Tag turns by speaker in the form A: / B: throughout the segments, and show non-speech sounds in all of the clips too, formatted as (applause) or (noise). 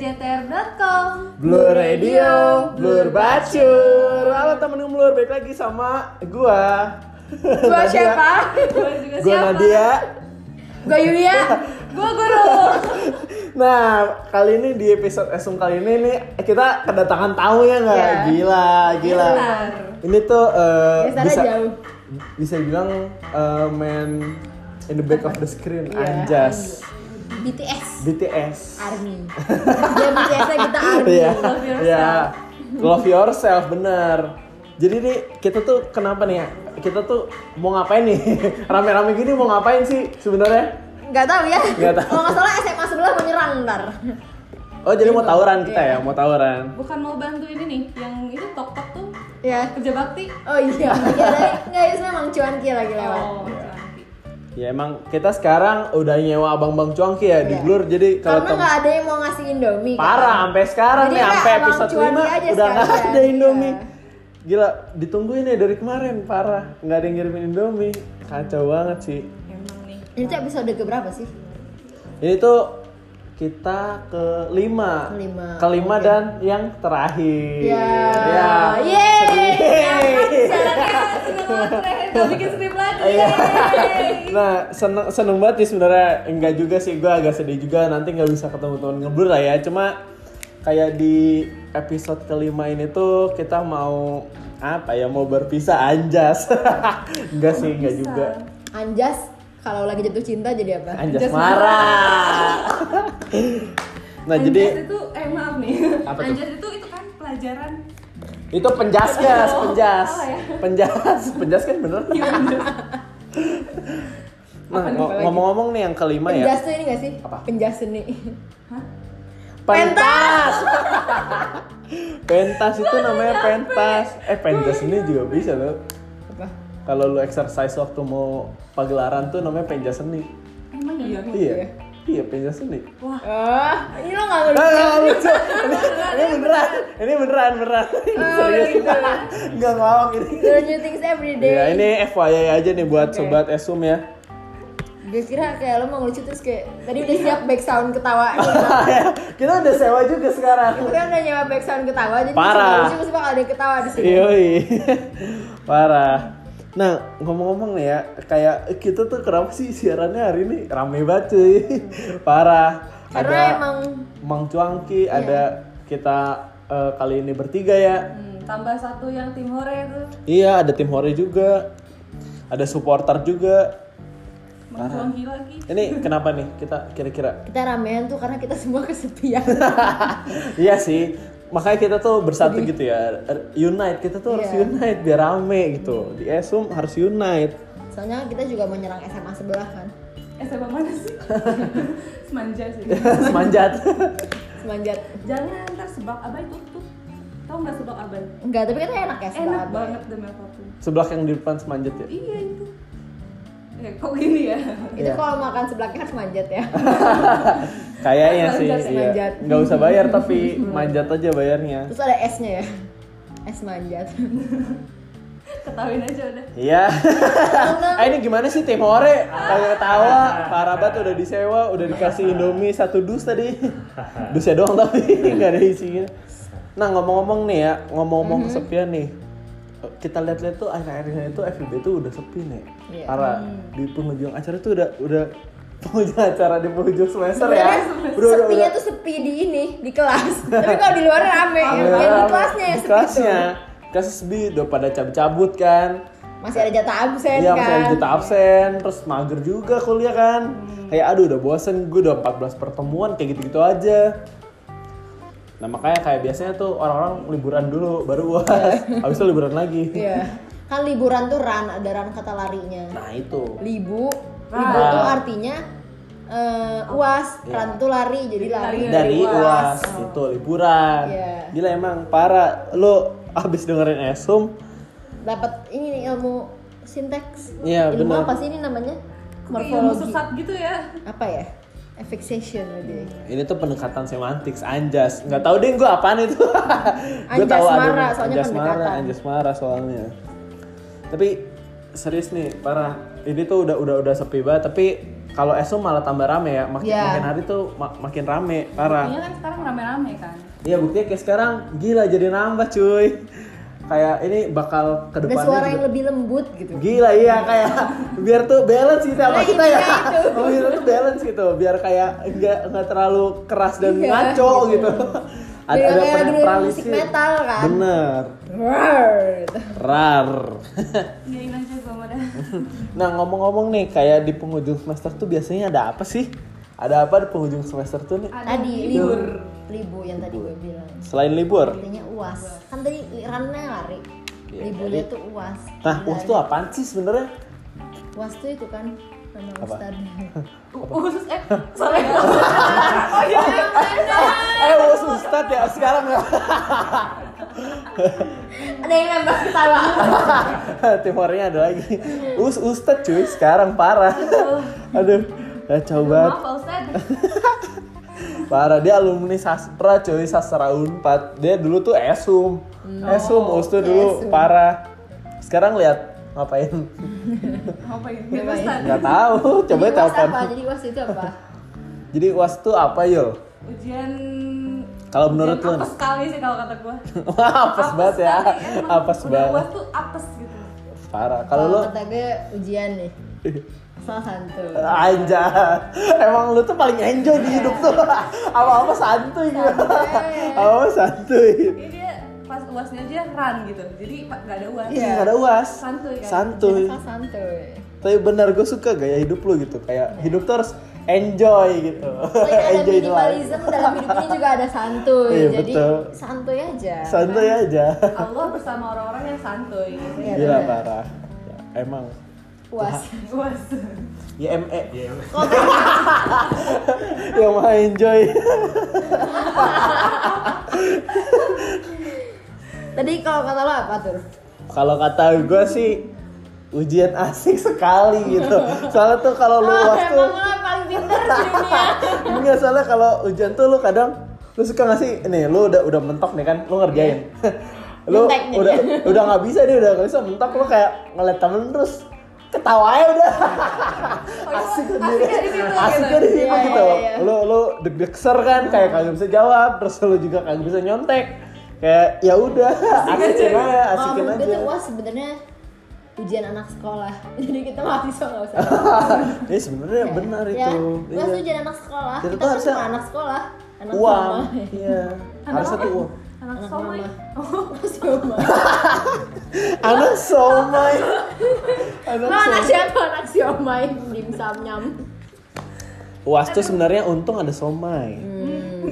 A: www.blueradiojtr.com
B: Blur Radio, Blur Bacur. Halo temen Blur, balik lagi sama gua.
A: Gua
B: Nadia.
A: siapa? Gua juga
B: Gua
A: siapa?
B: Nadia.
A: Gua Yulia Gua Guru
B: Nah, kali ini di episode esum kali ini nih eh, kita kedatangan tamu ya nggak?
A: Iya.
B: Gila, gila.
A: Benar.
B: Ini tuh eh,
A: Biasanya
B: bisa
A: jauh.
B: bisa bilang eh, man in the back of the screen,
A: Iya.
B: anjas.
C: BTS
B: BTS.
C: Army
A: Ya BTS-nya kita Army
B: Iya.
A: Love Yourself
B: Iya. Love yourself bener. Jadi nih kita tuh kenapa nih ya? Kita tuh mau ngapain nih? (laughs) Rame-rame gini mau ngapain sih sebenarnya?
C: Gak tau ya
B: Nggak tahu.
C: Kalau gak salah SMA sebelah menyerang ntar
B: Oh jadi
C: Iya.
B: mau tawuran kita ya, mau tawuran.
A: Bukan mau bantu ini nih Yang itu tok-tok tuh
C: Ya
A: Kerja bakti
C: Oh iya Iya tadi Gak itu memang cuanki lagi lewat
A: Oh,
B: Ya emang kita sekarang udah nyewa abang bang cuangki ya di
C: Iya.
B: Blur. Jadi kalau
C: Karena
B: tem-
C: gak ada yang mau ngasih Indomie kan?
B: parah sampai sekarang
C: Jadi
B: nih
C: udah
B: sampai
C: abang
B: episode 5
C: cuanki aja
B: udah nggak
C: sekalian.
B: ada Indomie.
C: Iya.
B: Gila, ditungguin ya dari kemarin parah. Nggak ada yang ngirimin Indomie. Kacau banget sih.
A: Emang nih
C: Ini tuh episode keberapa sih?
B: Ini tuh kita kelima,
C: Kelima,
B: kelima
C: oke.
B: dan yang terakhir.
C: Ya
B: Ya.
C: Yeay
A: Caranya seneng
B: (laughs)
A: banget Ren. Gak bikin strip lagi
B: Iya.
A: Yeay.
B: Nah, seneng seneng banget sih sebenarnya enggak juga sih gue agak sedih juga nanti nggak bisa ketemu teman ngeblur lah ya. Cuma kayak di episode kelima ini tuh kita mau apa ya mau berpisah anjas. (laughs) enggak sih, enggak juga.
C: Anjas Kalau lagi jatuh cinta jadi apa?
B: Anjas
A: Anjas
B: marah. nah,
A: Anjas
B: jadi
A: itu eh maaf nih.
B: Apa tuh?
A: Anjas itu itu kan pelajaran.
B: Itu penjas gas,
A: Oh,
B: penjas.
A: salah ya. Iya,
B: Penjas, (laughs) penjas kan bener. Nah,
A: Apa nih,
B: ngo-
A: apa lagi?
B: ngomong-ngomong nih yang kelima ya.
C: Penjas tuh ini gak sih?
B: Apa?
C: Penjas seni
A: (laughs)
B: Pentas. pentas itu namanya pentas. Eh, pentas ini juga bisa loh.
C: Apa?
B: Kalau lu exercise waktu mau pagelaran tuh namanya penjas seni.
A: Emang iya.
B: Iya. Iya,
A: (laughs)
B: penjas seni.
C: Oh, ini lo gak ngerti
B: Ah, lucu. Ini, ini beneran. Ini beneran, beneran. Ini (laughs) serius. Enggak ngawang ini.
C: Learn new things every day
B: Ya, ini FYI aja nih buat
C: Oke.
B: sobat Esum ya.
C: Gue kira kayak lo mau ngelucu terus kayak Tadi udah siap back sound ketawa
B: (laughs) kita udah sewa juga sekarang.
C: Kita udah nyewa back sound ketawa Jadi
B: Parah. Iya.
C: lucu pasti bakal ada yang ketawa di sini
B: Yoi. (laughs) Parah. Nah, ngomong-ngomong nih ya, kayak kita tuh kenapa sih siarannya hari ini rame banget cuy. (laughs) Parah.
C: Karena
B: ada
C: emang Iya.
B: Mang Cuangki, ada kita eh, kali ini bertiga ya.
A: Hmm, tambah satu yang tim hore itu.
B: Iya, ada tim Hore juga. Ada supporter juga.
A: Mengkuangki lagi.
B: Ini kenapa nih kita kira-kira? (laughs)
C: kita ramean tuh karena kita semua (laughs) kesepian
B: iya sih. Makanya kita tuh bersatu gitu ya. Unite, kita tuh harus
C: Iya.
B: unite biar rame gitu. Di Esum harus unite.
C: Soalnya kita juga mau nyerang SMA sebelah kan
A: Eh, siapa mana
B: (laughs)
A: sih? Semanja sih.
B: Semanjat.
C: Semanjat
A: Jangan ntar sebab abai tutup. Tahu nggak sebab abai?
C: Enggak, tapi kan enak ya sebelah
A: Enak
C: abang.
A: banget demi apapun.
B: Sebelah yang di depan semanjat ya.
A: Iya itu. Eh, kok gini ya? (laughs)
C: Itu
B: Iya.
C: kalau makan sebelahnya harus
B: (laughs)
C: manjat ya
B: Kayaknya sih.
A: Manjat,
B: Iya.
C: manjat.
B: Nggak usah bayar tapi manjat aja bayarnya.
C: Terus ada S-nya ya S manjat
A: Ketahuin aja udah.
C: (laughs)
B: Iya. eh ini gimana sih tim Hore? Kalau
C: (laughs)
B: ketawa, parah banget udah disewa, udah dikasih Indomie satu dus tadi. Dusnya doang (laughs) tapi nggak ada isinya. Nah ngomong-ngomong nih ya, ngomong-ngomong
C: Mm-hmm.
B: kesepian nih. Kita lihat-lihat tuh akhir-akhir ini tuh FVB tuh udah sepi nih.
C: Iya.
B: Parah. Di penghujung acara tuh udah udah (laughs) penghujung acara di penghujung semester ya.
C: Sebenarnya
B: Udah, udah,
C: Sepinya
B: udah.
C: tuh sepi di ini, di kelas (laughs) Tapi kalau di luar rame, yang
B: Iya,
C: yang di kelasnya ya
B: di
C: sepi
B: kelasnya.
C: tuh
B: Kelasnya sedih, udah pada cabut-cabut kan.
C: Masih ada jatah absen
B: Iya,
C: kan Hmm.
B: misalnya kita absen, terus mager juga kuliah kan. Kayak aduh udah bosen, gue udah 14 pertemuan kayak gitu-gitu aja. Nah makanya kayak biasanya tuh orang-orang liburan dulu baru uas, habis itu liburan lagi.
C: Iya. Kan liburan tuh run, ada run kata larinya.
B: Nah itu.
C: Libu,
B: Ah.
A: Run.
C: libu tuh artinya eh, uas,
B: Iya.
C: run tuh lari, jadi lari.
A: Dari
B: Dari
A: uas.
B: uas itu liburan.
C: Iya.
B: Gila emang parah. Lo abis dengerin esum,
C: Dapat ini nih ilmu sinteks.
B: Iya,
C: ilmu
B: benar.
C: apa sih ini namanya?
A: Ilmu
C: Morfologi.
A: sesat gitu ya.
C: Apa ya? Affixation gitu ya. aja.
B: ini tuh pendekatan semantik, anjas. Nggak tahu deh gue apaan itu. (laughs) gue
C: Anjas
B: tahu ada
C: Mara,
B: namanya
C: soalnya
B: anjas mara,
C: pendekatan.
B: anjas mara soalnya. Tapi serius nih, parah. Ini tuh udah udah udah sepi banget. Tapi Kalau esum malah tambah rame ya, makin,
C: Iya.
B: makin hari tuh mak- makin rame, parah.
A: Iya kan sekarang rame-rame kan.
B: Iya buktinya kayak sekarang gila jadi nambah cuy. Kayak ini bakal ke
C: Ada
B: depannya
C: suara
B: juga-
C: yang lebih lembut gitu.
B: Gila iya kayak biar tuh balance gitu sama
C: Nah,
B: kita ya.
C: intinya itu.
B: Sama kita tuh balance gitu, biar kayak enggak enggak terlalu keras dan
C: Iya,
B: ngaco gitu. Ada ada
C: Biar kayak
B: per-
C: dengerin
B: peralisi.
C: musik metal kan.
B: Bener.
C: Roar.
B: Rar.
A: Yain aja gue mau dah.
B: Nah, ngomong-ngomong nih kayak di penghujung semester tuh biasanya ada apa sih? Ada apa di penghujung semester tuh nih?
C: Tadi libur. Libur yang tadi gue bilang.
B: Selain libur.
C: Intinya uas. Kan tadi rannya lari.
B: Iya,
C: Liburnya
B: lari.
C: tuh uas.
B: Nah, UAS tuh apaan sih sebenarnya?
C: Uas tuh itu kan nama
B: Apa? (laughs)
C: Ustadz.
A: Usus eh sorry. oh iya.
B: Eh, UAS Ustad ya sekarang ya. (laughs)
C: Ada yang nembak ketawa.
B: Timornya ada lagi.
C: Iya.
B: Us Ustad cuy, sekarang parah. Aduh, kacau banget.
A: Maaf Pak Ustad.
B: Parah dia alumni sastra cuy, sastra Unpad. Dia dulu tuh Esum. Esum Us tuh dulu
C: Esum.
B: parah. Sekarang lihat ngapain?
A: Apa ya? Gak Ustad.
B: Nggak tahu, coba
C: Jadi uas
B: telepon.
C: apa? Iya, Jadi uas itu
B: (laughs)
C: apa?
B: Jadi UAS tuh apa, Yul?
A: Ujian
B: Kalau menurut
A: ujian
B: lu
A: apes sekali sih kalau kata gue.
B: (laughs) Wah, (laughs) apes banget ya. (laughs) Apes
A: Udah
B: banget.
A: UAS tuh apes gitu.
B: Parah. Kalau lu
C: Kalau kata gue ujian nih.
B: Iya.
C: Salah santun.
B: Anja, (laughs) emang lu tuh paling enjoy di hidup tuh. (laughs) Apa-apa santuy gitu.
C: Santai.
B: (laughs) Apa-apa santuy.
A: Jadi dia pas uasnya aja run gitu. Jadi pa- nggak ada uas.
C: Iya.
B: Iya, nggak ada uas.
A: Santuy kan?
B: Santuy.
C: Salah Iya, santuy.
B: Tapi benar gue suka gaya hidup lu gitu. Kayak hidup tuh harus (laughs) enjoy gitu. (laughs) enjoy
C: Selain Oh, iya, ada
B: the life.
C: minimalism dalam hidup ini juga ada santuy.
B: Iya,
C: Jadi
B: betul.
C: santuy aja.
B: Santuy aja.
A: Allah bersama orang-orang yang santuy.
C: Iya,
B: Gila
C: benar.
B: parah. Ya, emang. Ya,
C: Puas.
B: (laughs)
A: Uas. Oh,
B: YME. (laughs) Yang Ya, mah enjoy.
C: (laughs) Tadi kalau kata lo apa tuh?
B: Kalau kata gue sih ujian asik sekali gitu. Soalnya tuh kalau lu
C: Oh,
B: uas tuh
C: emang lo paling pinter di dunia.
B: Enggak salah kalau hujan tuh lu kadang lu suka nggak sih nih lu udah udah mentok nih kan lu ngerjain (laughs) lu
C: Iya. Mentek nih
B: udah udah nggak bisa dia udah nggak bisa mentok lu kayak ngeliat temen terus ketawa aja udah (laughs)
C: Oh,
B: asik sendiri
A: asiknya iya, di situ gitu.
B: asiknya di situ
C: Iya, iya,
B: gitu
C: iya.
B: lu lu deg ser kan kayak kagak bisa jawab terus lu juga kagak bisa nyontek kayak ya udah asikin aja
C: Kalau
B: (laughs) asikin
C: menurut gue
B: aja (laughs)
C: tuh uas sebenarnya ujian anak sekolah. (laughs) Jadi kita mahasiswa nggak
B: (laughs)
C: usah.
B: ini Iya, sebenarnya
C: Iya.
B: benar
C: Ya,
B: itu
C: Uas tuh
B: Iya.
C: ujian anak sekolah.
B: Jadi
C: kita
B: tuh
C: kan
B: harusnya
C: cuma anak sekolah. Anak
B: uang
C: mama.
B: iya harusnya tuh uang
A: Anak
C: Anak
A: somai.
C: mama. (laughs)
A: Oh,
C: Anak mama.
B: Anak somai.
C: Lo anak siapa? Anak siomay. Dimsum nyam.
B: Uas tuh sebenarnya untung ada somai.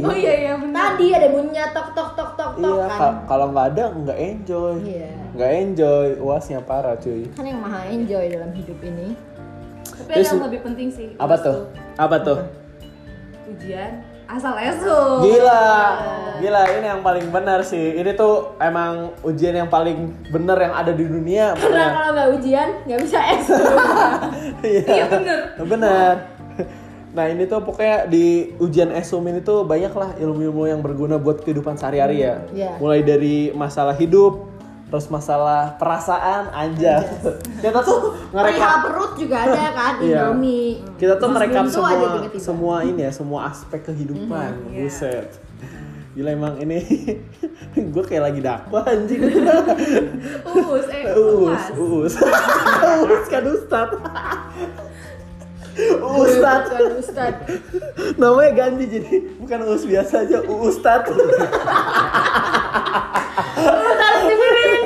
A: oh iya iya benar.
C: Tadi ada bunyinya tok tok tok tok tok
B: Iya,
C: kan.
B: ka- kalau nggak ada nggak enjoy.
C: Iya.
B: Nggak enjoy, uasnya parah cuy.
C: Kan yang maha enjoy dalam hidup ini.
A: Tapi ada
B: Terus-
A: yang lebih penting sih.
B: Apa
A: UAS
B: tuh? Apa tuh?
A: Ujian asal esok.
B: Gila,
A: iya.
B: gila ini yang paling benar sih. Ini tuh emang ujian yang paling benar yang ada di dunia.
C: Karena
B: pokoknya.
C: kalau nggak ujian nggak bisa es.
A: Iya, bener.
B: Bener. Nah ini tuh pokoknya di ujian esum ini tuh banyak lah ilmu-ilmu yang berguna buat kehidupan sehari-hari ya.
A: Hmm,
C: Iya.
B: Mulai dari masalah hidup, terus masalah perasaan, anjay. (laughs) Kita tuh
C: Perihal
B: ngerekap.
C: perut juga ada kan
B: Iya.
C: Indomie.
B: Kita tuh merekap
C: Sebelum tua aja
B: semua
C: tiba-tiba.
B: semua ini ya, semua aspek kehidupan.
A: iya.
B: Buset. Gila emang ini (laughs) gue kayak lagi dakwah
A: (laughs)
B: anjing.
A: Uus, eh
B: Uus,
A: uas.
B: uus. (laughs) uus kan ustad.
A: (laughs)
B: Ustad.
C: Bukan Ustad.
B: namanya ganti jadi bukan us biasa aja
C: (laughs)
B: ustad
C: Taruh di piring.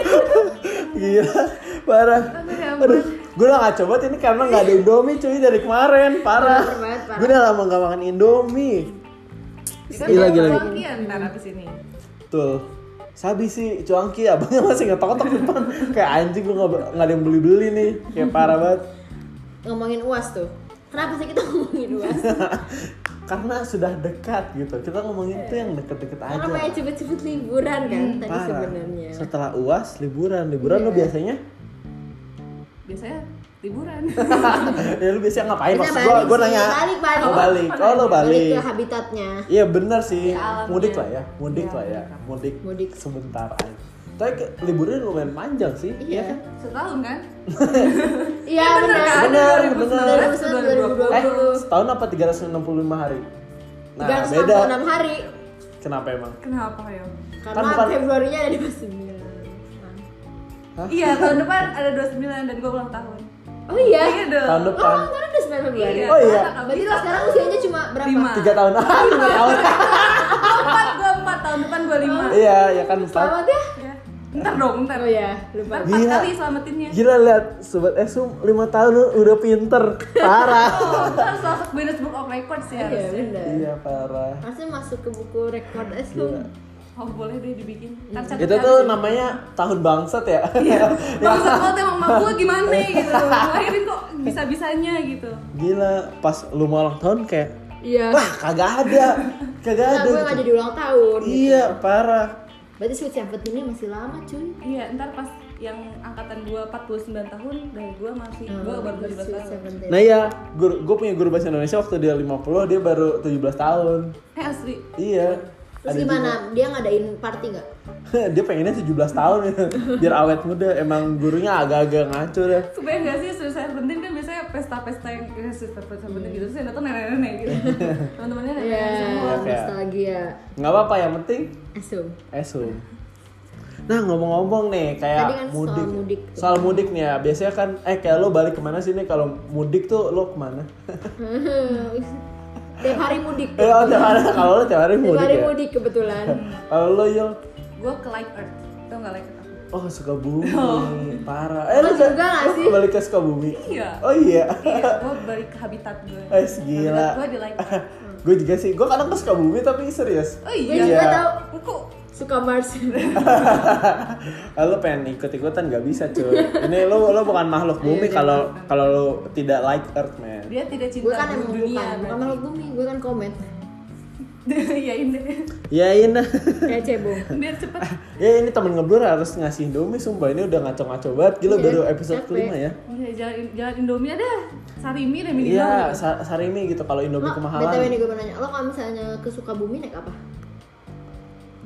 B: gila parah
A: Aduh, ya ampun.
B: aduh gue udah gak coba ini karena nggak ada indomie cuy dari kemarin parah
C: Bener banget, parah.
B: gue udah lama gak makan indomie
A: Kita Kan
B: Gila,
A: mau
B: gila, gila.
A: latihan ntar abis ini.
B: betul sabi sih cuangki abangnya masih ngetok-ngetok di depan kayak anjing gue nggak nggak ada yang beli-beli nih kayak parah banget
C: Ngomongin uas tuh. Kenapa sih kita ngomongin uas?
B: karena sudah dekat gitu kita ngomongin tuh yang deket-deket
C: Karena
B: aja
C: banyak cepet-cepet liburan kan tadi
B: Hmm, parah
C: sebenarnya. Iya.
B: setelah uas liburan liburan lo biasanya
A: Biasanya liburan. (laughs)
B: (laughs) ya lu biasanya ngapain
C: Kita
B: maksud gue
C: balik
B: gue
C: sih,
B: nanya
C: balik, balik.
B: oh balik oh lo
C: Balik
B: balik
C: ke habitatnya.
B: Iya benar sih,
A: Ke alamnya.
B: mudik lah ya, mudik
A: Iya,
B: lah ya, mudik,
C: Mudik.
B: sebentar aja. Tapi ke- liburnya lumayan panjang sih,
C: Iya.
B: kan?
A: Setahun kan?
C: Iya benar.
A: kan?
B: Benar,
A: 2019,
B: benar.
C: Eh,
A: 2020.
B: tahun apa 365 hari? Nah,
C: 366
B: beda.
C: hari
B: Kenapa emang?
A: Kenapa ya?
C: karena
B: Kan bukan-
C: Februarinya ada di pas 9.
B: Hah?
A: Iya, tahun depan ada 29 dan gue ulang tahun.
C: Oh iya.
A: Iya dong.
B: Tahun
C: Oh,
B: depan.
C: kan udah 9 Februari.
A: Iya.
B: Oh iya.
C: Berarti lo sekarang usianya cuma berapa?
A: Lima.
B: Tiga tahun. Ah, lima tahun.
A: Gua empat, gue empat tahun depan gue lima.
B: Iya, ya kan empat.
C: Selamat ya.
A: Ya. Ntar dong, ntar.
C: Oh iya, lupa.
A: Ntar empat
B: Gila.
A: kali selamatinnya.
B: Gila lihat sobat Esum lima tahun lu udah pinter parah.
A: Oh, ntar harus masuk Guinness Book of Records ya.
C: Iya,
A: harusnya.
C: bener.
B: iya parah.
C: Harusnya masuk ke buku rekor es
B: Gila.
C: lu.
A: Oh boleh deh dibikin. Ntar catat
B: Itu tuh namanya tahun bangsat (laughs) ya.
C: Iya.
A: Bangsa banget emang mak gue gimana
B: (laughs)
A: gitu. Lahirin kok bisa-bisanya gitu.
B: Gila, pas lu mau ulang tahun kayak
C: Iya.
B: wah kagak ada. Kagak
C: Nah,
B: ada. gitu."
C: gue nggak jadi ulang tahun.
B: Iya, parah.
C: Berarti sweet seventeen ini masih lama cuy.
A: Iya, ntar pas yang angkatan gue 49 tahun dan gue masih gue baru 17
C: Oh, Sweet
A: tahun.
C: seventeen.
B: Nah iya, guru, gue punya guru bahasa Indonesia waktu dia 50, dia baru 17 tahun.
A: Eh asli.
B: Iya. (laughs)
C: Terus
B: Ada
C: gimana? Dia ngadain party nggak?
B: juga- dia pengennya 17 tahun ya, (laughs) biar awet muda. Emang gurunya agak-agak ya. ngaco deh.
A: Kebayang gak sih saya penting kan biasanya pesta-pesta yang ya, pesta-pesta penting gitu terus yang datang nenek-nenek gitu.
B: Hmm.
A: (laughs) Teman-temannya
C: Iya.
A: nenek-nenek semua.
B: Iya, kayak-
C: Nostalgia.
B: Nggak apa-apa yang penting
C: Esum.
B: esum. Nah ngomong-ngomong nih
C: Tadi kan
B: kayak
C: soal
B: mudik.
C: mudik.
B: Soal mudik nih ya, biasanya kan eh kayak lo balik kemana sih nih kalau mudik tuh lo kemana?
C: Tiap hari mudik.
B: eh oh, tiap hari (laughs) kalau lo tiap hari
C: Tiap
B: mudik
C: hari
B: ya.
C: mudik
B: (laughs)
C: kebetulan.
B: Kalau lo yul,
A: Gue ke Like Earth. Tau gak Like Earth?
B: oh suka
C: (laughs)
B: bumi, parah. Eh
C: Lo juga nggak
B: lo
C: sih?
B: balik ke Sukabumi?
A: Iya.
B: Oh iya.
A: Iya, gue balik ke habitat
B: (laughs)
A: gue.
B: Eh gila.
A: Gue di Like Earth.
B: gue juga sih, gue kadang ke Sukabumi tapi serius.
A: Oh
C: Gue
A: iya.
B: Iya.
C: juga tahu
A: Kok
C: suka Mars.
B: Ah, lo pengen ikut ikutan gak bisa cuy.
C: (laughs)
B: Ini lo lo bukan makhluk
C: Iya,
B: bumi kalau kalau lo tidak like Earth man.
A: dia tidak cinta
C: gue kan emang
A: dunia.
C: bukan, bukan makhluk bumi, gue kan komet
A: berarti. (laughs) Iya ini.
B: Ya ini,
C: (laughs) kayak cebong
A: biar cepet
B: (laughs) ya ini temen ngeblur harus ngasih indomie sumpah ini udah ngaco-ngaco banget gila
C: Iya,
B: baru episode
C: capek.
B: kelima ya.
A: Udah, Iya, jalan jalan Indomie deh sarimi deh minimal
B: Iya, sa- sarimi gitu kalau indomie
C: lo btw
B: kemahalan.
C: nih gue mau nanya lo kalau misalnya ke Sukabumi naik apa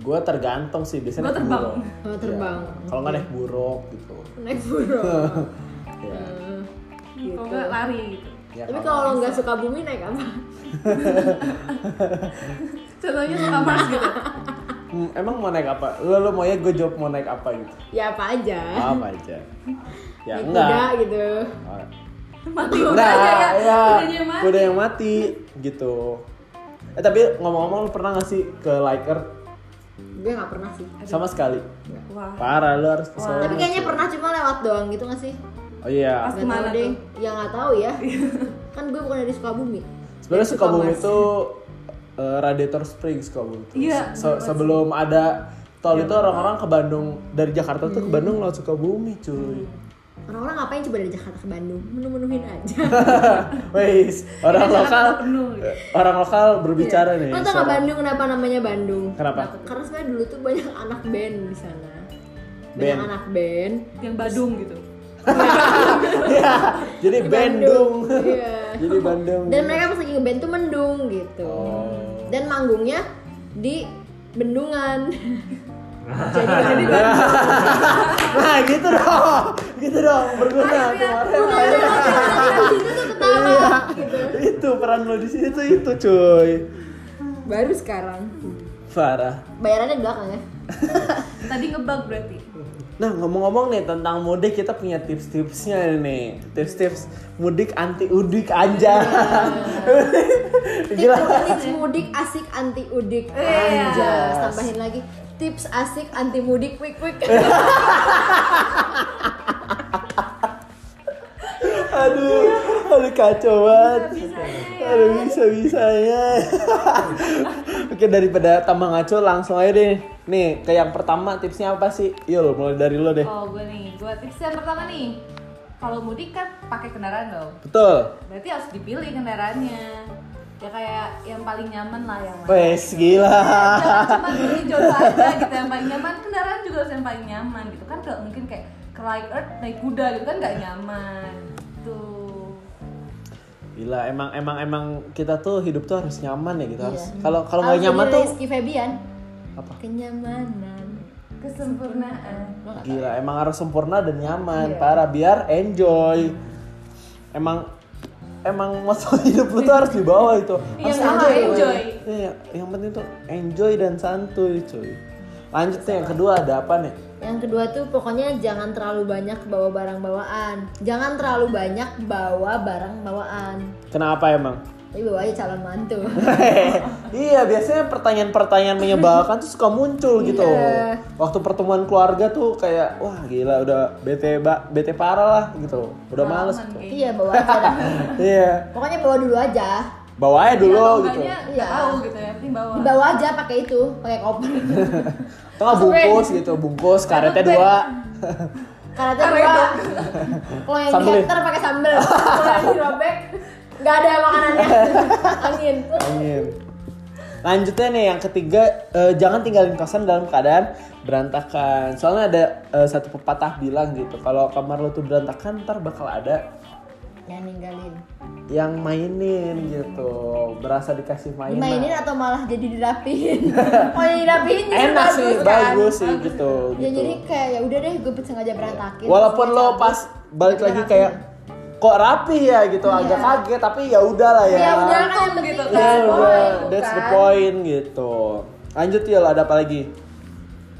B: Gue tergantung sih biasanya.
A: Gua
B: naik
A: terbang.
B: buruk.
C: Oh, terbang.
B: Iya. Kalau nggak naik buruk gitu.
C: naik burung
B: Ya.
C: Eh,
A: gitu. kalau nggak lari gitu
B: Ya,
C: tapi kalau lo nggak Sukabumi naik apa
A: contohnya suka mars
B: (laughs)
A: gitu
B: Hmm, emang mau naik apa? Lo lo mau ya gue jawab mau naik apa gitu?
C: (laughs) ya apa aja
B: Apa aja? Ya
C: naik
B: enggak.
C: kuda gitu
B: Enggak.
A: mati udah
B: Nah,
A: aja
B: ya,
A: udahnya mati
B: kuda yang mati gitu. Eh tapi ngomong-ngomong lu pernah gak sih ke Liker
C: gue nggak pernah sih
B: sama sekali?
A: wah
B: Parah lu harus
A: Wah.
B: kesana.
C: tapi kayaknya pernah cuma lewat doang gitu nggak sih
B: Oh iya.
A: Pas
C: Nggak
A: kemana
C: tahu deh ya nggak tahu (laughs) ya kan gue bukan dari Sukabumi
B: Sebenarnya
C: Itu
B: Sukabumi
C: Thomas.
B: itu eh, Radiator Springs Sukabumi. tuh.
A: Iya,
B: Se- sebelum ada tol itu orang-orang ke Bandung dari Jakarta tuh ke
A: Hmm.
B: Bandung lewat Sukabumi, cuy.
C: orang-orang ngapain coba dari Jakarta ke Bandung menu-menuhin aja
B: (laughs) Wis, orang
A: Iya, Jakarta
B: lokal
A: penuh.
B: eh, orang lokal berbicara nih.
C: lo tau nggak
B: soal-
C: Bandung kenapa namanya Bandung
B: Kenapa?
C: karena sebenarnya dulu tuh banyak anak band di sana banyak
B: Band.
C: anak band
A: yang badung gitu
B: Iya, jadi
C: Di
B: Bandung.
C: iya
B: jadi Bandung.
C: dan mereka pas lagi ngeband tuh mendung gitu
B: Oh.
C: dan manggungnya di
B: (laughs)
C: bendungan jadi
A: jadi
C: Bandung.
B: Nah gitu dong, gitu dong berguna kemarin.
C: Udah, udah, udah, udah, udah, di situ tuh ketawa gitu.
B: Itu peran lo di sini tuh itu cuy.
C: baru sekarang
B: Parah.
C: bayarannya di belakang ya
A: tadi ngebug berarti
B: Nah ngomong-ngomong nih tentang mudik kita punya tips-tipsnya nih Tips-tips mudik anti udik aja (laughs)
C: tips,
B: Gila
C: tips mudik asik anti udik
A: Iya.
C: Anjas. tambahin lagi tips asik anti mudik quick quick
B: Aduh, aduh kacau banget
A: Bisa-bisanya.
B: Aduh bisa-bisanya Oke daripada tambah ngaco langsung aja deh Nih ke yang pertama tipsnya apa sih? Yul mulai dari lo deh
A: oh gue nih gue tips yang pertama nih kalau mudik kan pakai kendaraan dong
B: Betul
A: berarti harus dipilih kendaraannya ya kayak yang paling nyaman lah yang mana.
B: Wes gila
A: Jangan cuma beli jodoh aja gitu yang paling nyaman kendaraan juga harus yang paling nyaman gitu kan gak mungkin kayak ke Light Earth naik kuda gitu kan gak nyaman tuh
B: Gila, emang emang emang kita tuh hidup tuh harus nyaman ya gitu harus.
C: Iya.
B: Kalau kalau nggak
C: Harus
B: nyaman
C: jadi
B: tuh
C: Rizky Febian
B: apa?
C: kenyamanan
A: kesempurnaan
B: Gila, emang harus sempurna dan nyaman, parah biar enjoy. Emang emang moto hidup lu tuh harus dibawa itu.
A: Iya,
B: Harus
A: sama enjoy.
B: Iya, yang penting tuh enjoy dan santuy, cuy. Lanjut nih yang kedua ada apa nih?
C: Yang kedua tuh pokoknya jangan terlalu banyak bawa barang bawaan. Jangan terlalu banyak bawa barang bawaan.
B: Kenapa emang? (laughs)
C: Tapi bawa aja calon mantu.
B: iya, biasanya pertanyaan-pertanyaan menyebalkan tuh suka muncul gitu.
C: Iya.
B: Waktu pertemuan keluarga tuh kayak wah gila udah bete ba- bete parah lah gitu. Udah males.
A: Pengalaman kayaknya.
C: (laughs) iya bawa aja. dah.
B: (laughs) Iya,
C: Pokoknya bawa dulu aja.
B: bawa
A: Iya,
B: aja
A: atau
B: dulu gitu.
A: enggaknya nggak
C: Iya.
A: tahu gitu ya, penting bawa.
C: Dibawa aja pakai itu, pakai
B: (laughs)
C: koper.
B: Atau nggak bungkus gitu, bungkus karetnya
A: Maksud gue-
B: dua.
C: Karena tuh
A: Karena
C: gua-
A: itu.
C: (laughs) kalau yang
B: Sambelin.
C: diantar pakai
B: (laughs)
C: sambel, kalau yang dirobek nggak ada makanannya. Angin.
B: Amin. Lanjutnya nih yang ketiga eh, jangan tinggalin kosan dalam keadaan berantakan. Soalnya ada eh, satu pepatah bilang gitu kalau kamar lo tuh berantakan ntar bakal ada
C: Yang ninggalin.
B: yang mainin gitu berasa dikasih mainan
C: Dimainin atau malah jadi
B: (laughs)
C: dirapihin. Kalau dirapihin justru
B: enak sih
C: kan?
B: bagus sih gitu,
C: Ya
B: gitu.
C: jadi kayak ya udah deh gue sengaja berantakin.
B: walaupun
C: sengaja
B: lo
C: cabut.
B: pas balik lagi
C: rapi.
B: kayak kok rapi ya gitu agak kaget tapi ya udahlah ya
C: ya udah kan yang
A: gitu
C: penting
B: Ya
A: kan.
C: itu
B: udah,
C: kan.
B: that's the point gitu lanjut ya lo ada apa lagi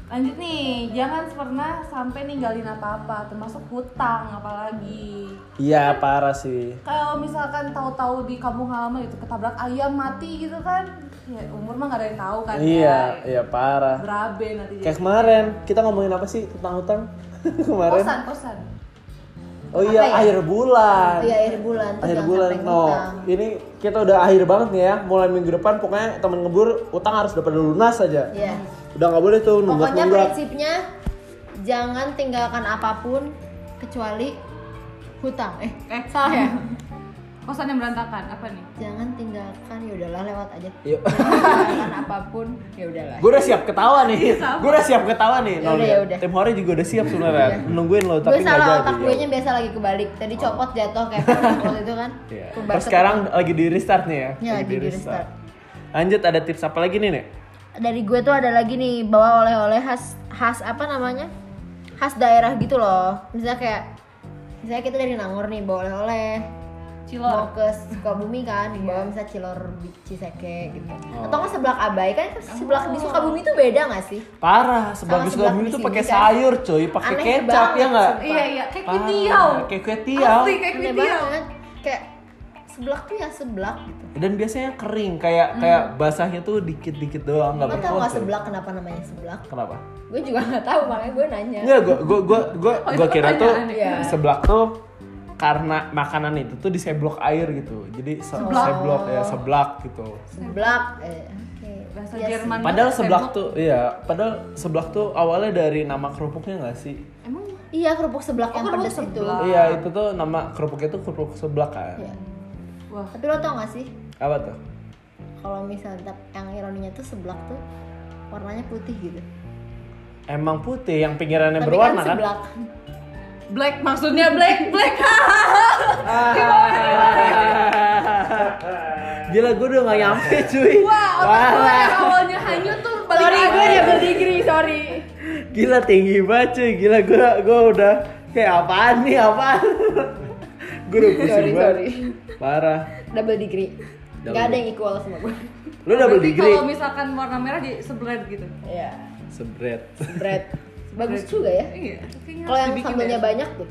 A: Lanjut nih, jangan pernah sampai ninggalin apa-apa, termasuk hutang apalagi.
B: iya parah sih
A: Kalau misalkan tahu-tahu di kampung halaman gitu ketabrak ayam mati gitu kan, ya umur mah nggak ada yang tahu kan.
B: iya
A: ya.
B: iya parah
A: Berabe nanti jadi.
B: kayak kemarin kita ngomongin apa sih tentang hutang (laughs) kemarin
A: Kosan, kosan.
B: oh iya
C: Apa ya?
B: akhir bulan
C: Iya akhir bulan. tuh
B: akhir
C: jangan
B: bulan
C: sampai
B: no
C: ngutang.
B: ini kita udah akhir banget nih ya mulai minggu depan pokoknya temen ngebur utang harus udah pada lunas aja
C: Iya.
B: udah nggak boleh tuh nunggak
C: Pokoknya
B: nunggak
C: prinsipnya jangan tinggalkan apapun kecuali hutang. Eh,
A: Eh.
C: salah
A: (laughs)
C: ya?
A: Kosan yang berantakan, apa nih?
C: jangan tinggalkan ya udahlah lewat
B: (laughs)
C: aja.
B: Yuk.
C: Tinggalkan apapun ya udahlah.
B: gue Iya. udah siap ketawa
C: Iya,
B: nih gue udah siap ketawa nih
C: Yaudah,
B: Nol.
C: yaudah.
B: tim hore juga udah siap sebenarnya nungguin lo
C: Gue
B: tapi nggak
C: Iya. salah
B: jadi ya.
C: otak gue nya biasa lagi kebalik. Tadi copot jatuh
B: (laughs)
C: kayak waktu itu kan.
B: Iya.
C: Kebalik
B: Terus sekarang lagi di restart nih ya,
C: Iya, lagi di restart.
B: lanjut ada tips apa lagi nih nih
C: dari gue tuh ada lagi nih bawa oleh-oleh khas khas apa namanya khas daerah gitu loh misalnya kayak misalnya kita dari Nangor nih bawa oleh-oleh mau
A: Cilor.
C: ke Sukabumi kan dibawa misalnya Cilor Ciseke gitu
A: Oh.
C: atau nggak seblak Abai kan seblak di Sukabumi tuh beda nggak sih
B: parah sebagus
C: sebelah
B: kamu
C: di
B: itu
C: sini
B: pakai
C: kan.
B: sayur coy pakai
C: Aneh
B: kecap ya
C: banget,
B: nggak
C: sumpah.
A: Iya, iya, kayak
B: Parah,
A: kutiau.
B: kayak kue tiaw
A: Asli kayak gitu ya.
C: Aneh
A: kutiau.
C: banget kayak seblak tuh ya seblak gitu
B: dan biasanya kering kayak kayak basahnya tuh dikit-dikit doang nggak
C: lo
B: berkuat
C: tau nggak
B: coy.
C: seblak kenapa namanya seblak
B: kenapa
C: gue juga nggak tahu makanya gue nanya
B: Enggak, gua gua gua gua,
A: Oh, itu
B: gua kira tuh
A: pertanyaan
C: ya?
B: seblak tuh karena makanan itu tuh diseblok air gitu. Jadi se-
C: Seblak.
B: seblak ya seblak gitu.
C: seblak eh, oke.
A: Bahasa
C: Iya,
A: Jerman.
B: Padahal seblak
A: Tembok.
B: tuh iya, padahal seblak tuh awalnya dari nama kerupuknya nggak sih?
A: Emang
C: Iya kerupuk seblak
A: Oh,
C: yang
A: kerupuk
C: pedes itu.
A: seblak. Ah.
B: Iya, itu tuh nama kerupuknya tuh kerupuk seblak kan.
C: Iya.
A: wah.
C: Tapi lo tau gak sih
B: Apa tuh?
C: kalau misalnya tap- yang ironinya tuh seblak tuh warnanya putih gitu.
B: Emang putih yang pinggirannya
C: Tapi
B: berwarna
C: kan
B: kan?
C: seblak.
A: Black maksudnya black, black.
B: (laughs) Gila gue udah gak nyampe cuy.
A: (laughs) Wah, otak gue yang awalnya hanyut tuh balik lagi.
C: kan berdigri, sorry.
B: Gila tinggi banget cuy, gila gue gua udah kayak apaan nih
C: (laughs)
B: apaan Gue udah pusing
C: Sorry,
B: banget,
C: sorry.
B: parah
C: Double degree.
B: Double
C: Gak ada yang equal sama gue.
B: Lu
C: Nah,
B: double
A: Berarti
B: degree?
A: Kalau misalkan warna merah di sebelah gitu.
C: Iya.
B: Sebret (laughs)
C: Bread. Bagus juga ya.
A: Iya. kayaknya
C: Kalau
A: harus
C: yang
A: dibikin
C: sambelnya
A: deh.
C: banyak tuh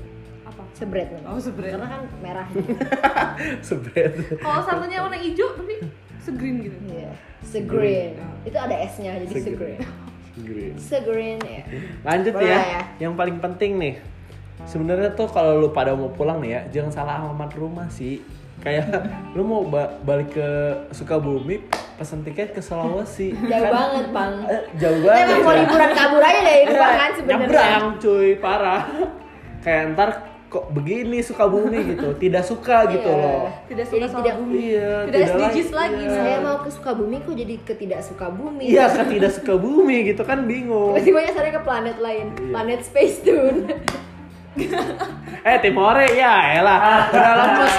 A: apa?
C: sebret namanya.
A: Oh, sebret.
C: Karena kan merah.
B: Sebret
A: Kalau sambelnya warna hijau tapi segreen
B: (laughs)
A: gitu.
C: Iya. Segreen.
A: Segreen.
C: Itu ada S-nya jadi segreen.
B: Segreen.
C: Segreen ya.
B: Lanjut
C: Boleh
B: ya,
C: ya.
B: yang paling penting nih sebenarnya tuh kalau lu pada mau pulang nih ya jangan salah alamat rumah sih kayak (laughs) lu mau ba- balik ke Sukabumi pesan tiket ke Sulawesi
C: Jauh
B: Kan-
C: banget, Bang.
B: Eh, jauh
C: Kita
B: banget
C: emang mau
B: ya.
C: liburan kabur aja dari
B: (laughs)
C: rumah kan sebenarnya.
B: nyebrang cuy parah kayak ntar kok begini Sukabumi gitu tidak suka gitu
C: Iya.
B: loh
A: Tidak
C: Jadi
A: suka sama
C: tidak-
A: bumi.
B: iya
A: Tidak
B: lah-
A: SDGs lagi.
B: iya.
C: Saya mau ke Sukabumi kok jadi ke tidak Sukabumi.
B: iya kan tidak Sukabumi gitu kan bingung
C: Tiba-tiba nyasarnya ke planet lain,
B: Iya.
C: planet Space
B: (laughs)
C: Tune.
B: eh Timore ya elah
C: Ah.
B: udah lemes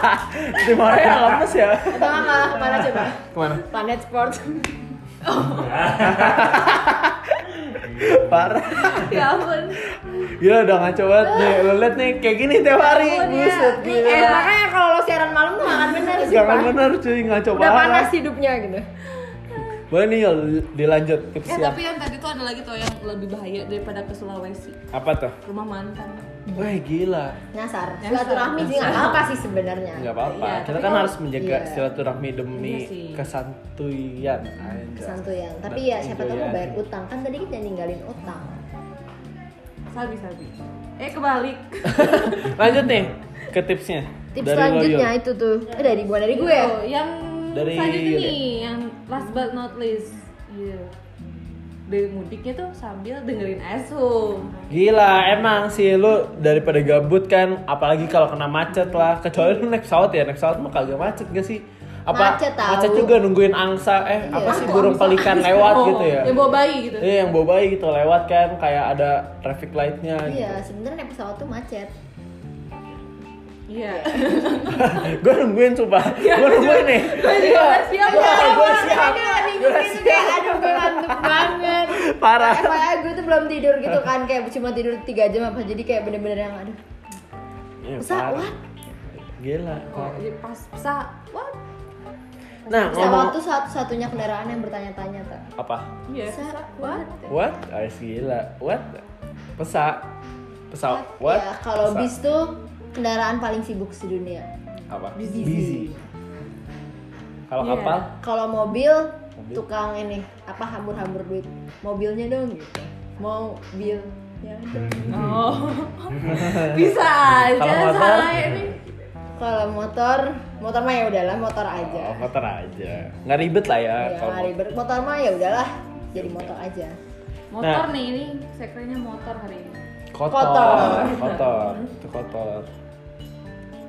B: (laughs) Timore ya lemes ya
C: Atau nggak malah kemana coba?
B: kemana
C: Planet Sport.
B: parah Ya,
A: ya ampun.
B: gila udah ngaco banget nih lo liat nih kayak gini tiap hari
A: Ampun ya.
B: buset
A: Nih,
C: Eh,
A: eh,
C: makanya kalau lo siaran malam tuh
B: kangen bener cuy ngaco
C: udah
B: banget.
C: panas hidupnya gitu
B: Boleh nih Yol, dilanjut
A: Eh
B: tips
C: Ya,
B: yang
A: tapi yang tadi tuh ada lagi tuh yang lebih bahaya daripada ke Sulawesi
B: apa tuh?
A: rumah mantan.
B: Wah gila,
C: nyasar silaturahmi sih nggak apa sih sebenarnya
B: nggak apa-apa.
A: Iya,
B: Kita
A: tapi
B: kan
A: kalau-
B: harus menjaga
C: iya.
B: silaturahmi demi
A: Iya sih.
B: kesantuyan. Anjay.
C: kesantuyan tapi
B: Iya,
C: ya siapa tahu mau
B: Kesantuyan.
C: bayar utang kan tadi kita ninggalin utang
A: Sabi sabi. Eh kebalik.
B: Lanjut nih ke tipsnya.
C: tips
B: Dari lo,
C: selanjutnya
B: Yol.
C: itu tuh eh, dari bukan dari gue
A: Oh, yang
B: Dari
A: selanjutnya
B: Yuli.
A: nih yang last but not least. Iya. Dari mudiknya tuh sambil dengerin esum.
B: Gila, emang sih lu daripada gabut kan, apalagi kalau kena macet lah. Kecuali lu naik pesawat ya, naik pesawat mah kagak macet gak sih? Apa
C: Macet tahu.
B: juga nungguin angsa eh apa sih
C: Kok
B: burung pelikan lewat
A: Oh,
B: gitu ya?
A: Yang bawa bayi gitu.
B: Iya yang bawa bayi gitu lewat kan kayak ada traffic lightnya gitu. (laughs)
C: iya sebenarnya naik pesawat tuh macet
B: (laughs)
A: Iya.
B: gue nungguin sumpah, gue nungguin nih.
A: Gue juga nggak siap.
B: Wah, gue
C: Orang
B: siap.
C: ada yang ngikutin tuh kayak, aduh gue ngantuk banget
B: Parah.
C: FYI gue tuh belum tidur gitu kan kayak cuma tidur 3 jam apa jadi kayak bener-bener yang aduh
B: Iya,
C: Masa,
B: parah.
C: what?
B: Gila.
A: Oh, iya, pas pesa. What?
B: Nah, ngomong
C: pesawat tuh satu-satunya kendaraan yang bertanya-tanya tuh
B: apa?
A: Iya.
C: Sa,
A: pesa. What?
C: what?
B: What? Ais gila. What? Pesa. Pesa. What?
C: Ya, kalau
B: Pesa.
C: bis tuh kendaraan paling sibuk sedunia.
B: apa?
A: Busy.
B: Kalau
A: Iya.
B: kapal?
C: Kalau mobil,
B: Mobil.
C: tukang ini apa hambur-hambur duit. Mobilnya dong gitu. Mobil. Ya dong.
B: Hmm.
A: Oh. (laughs) Bisa aja
B: Kalau motor?
A: salah ini.
C: Kalau motor, motor mah ya udahlah, motor aja.
B: Oh, motor aja. Nggak ribet lah ya.
C: Ya,
B: kalau
C: ribet. motor mah ya udahlah, jadi motor aja.
A: Motor
B: Nah.
A: nih ini sekrennya motor hari ini.
B: kotor.
C: Kotor.
B: Kotor. Itu kotor.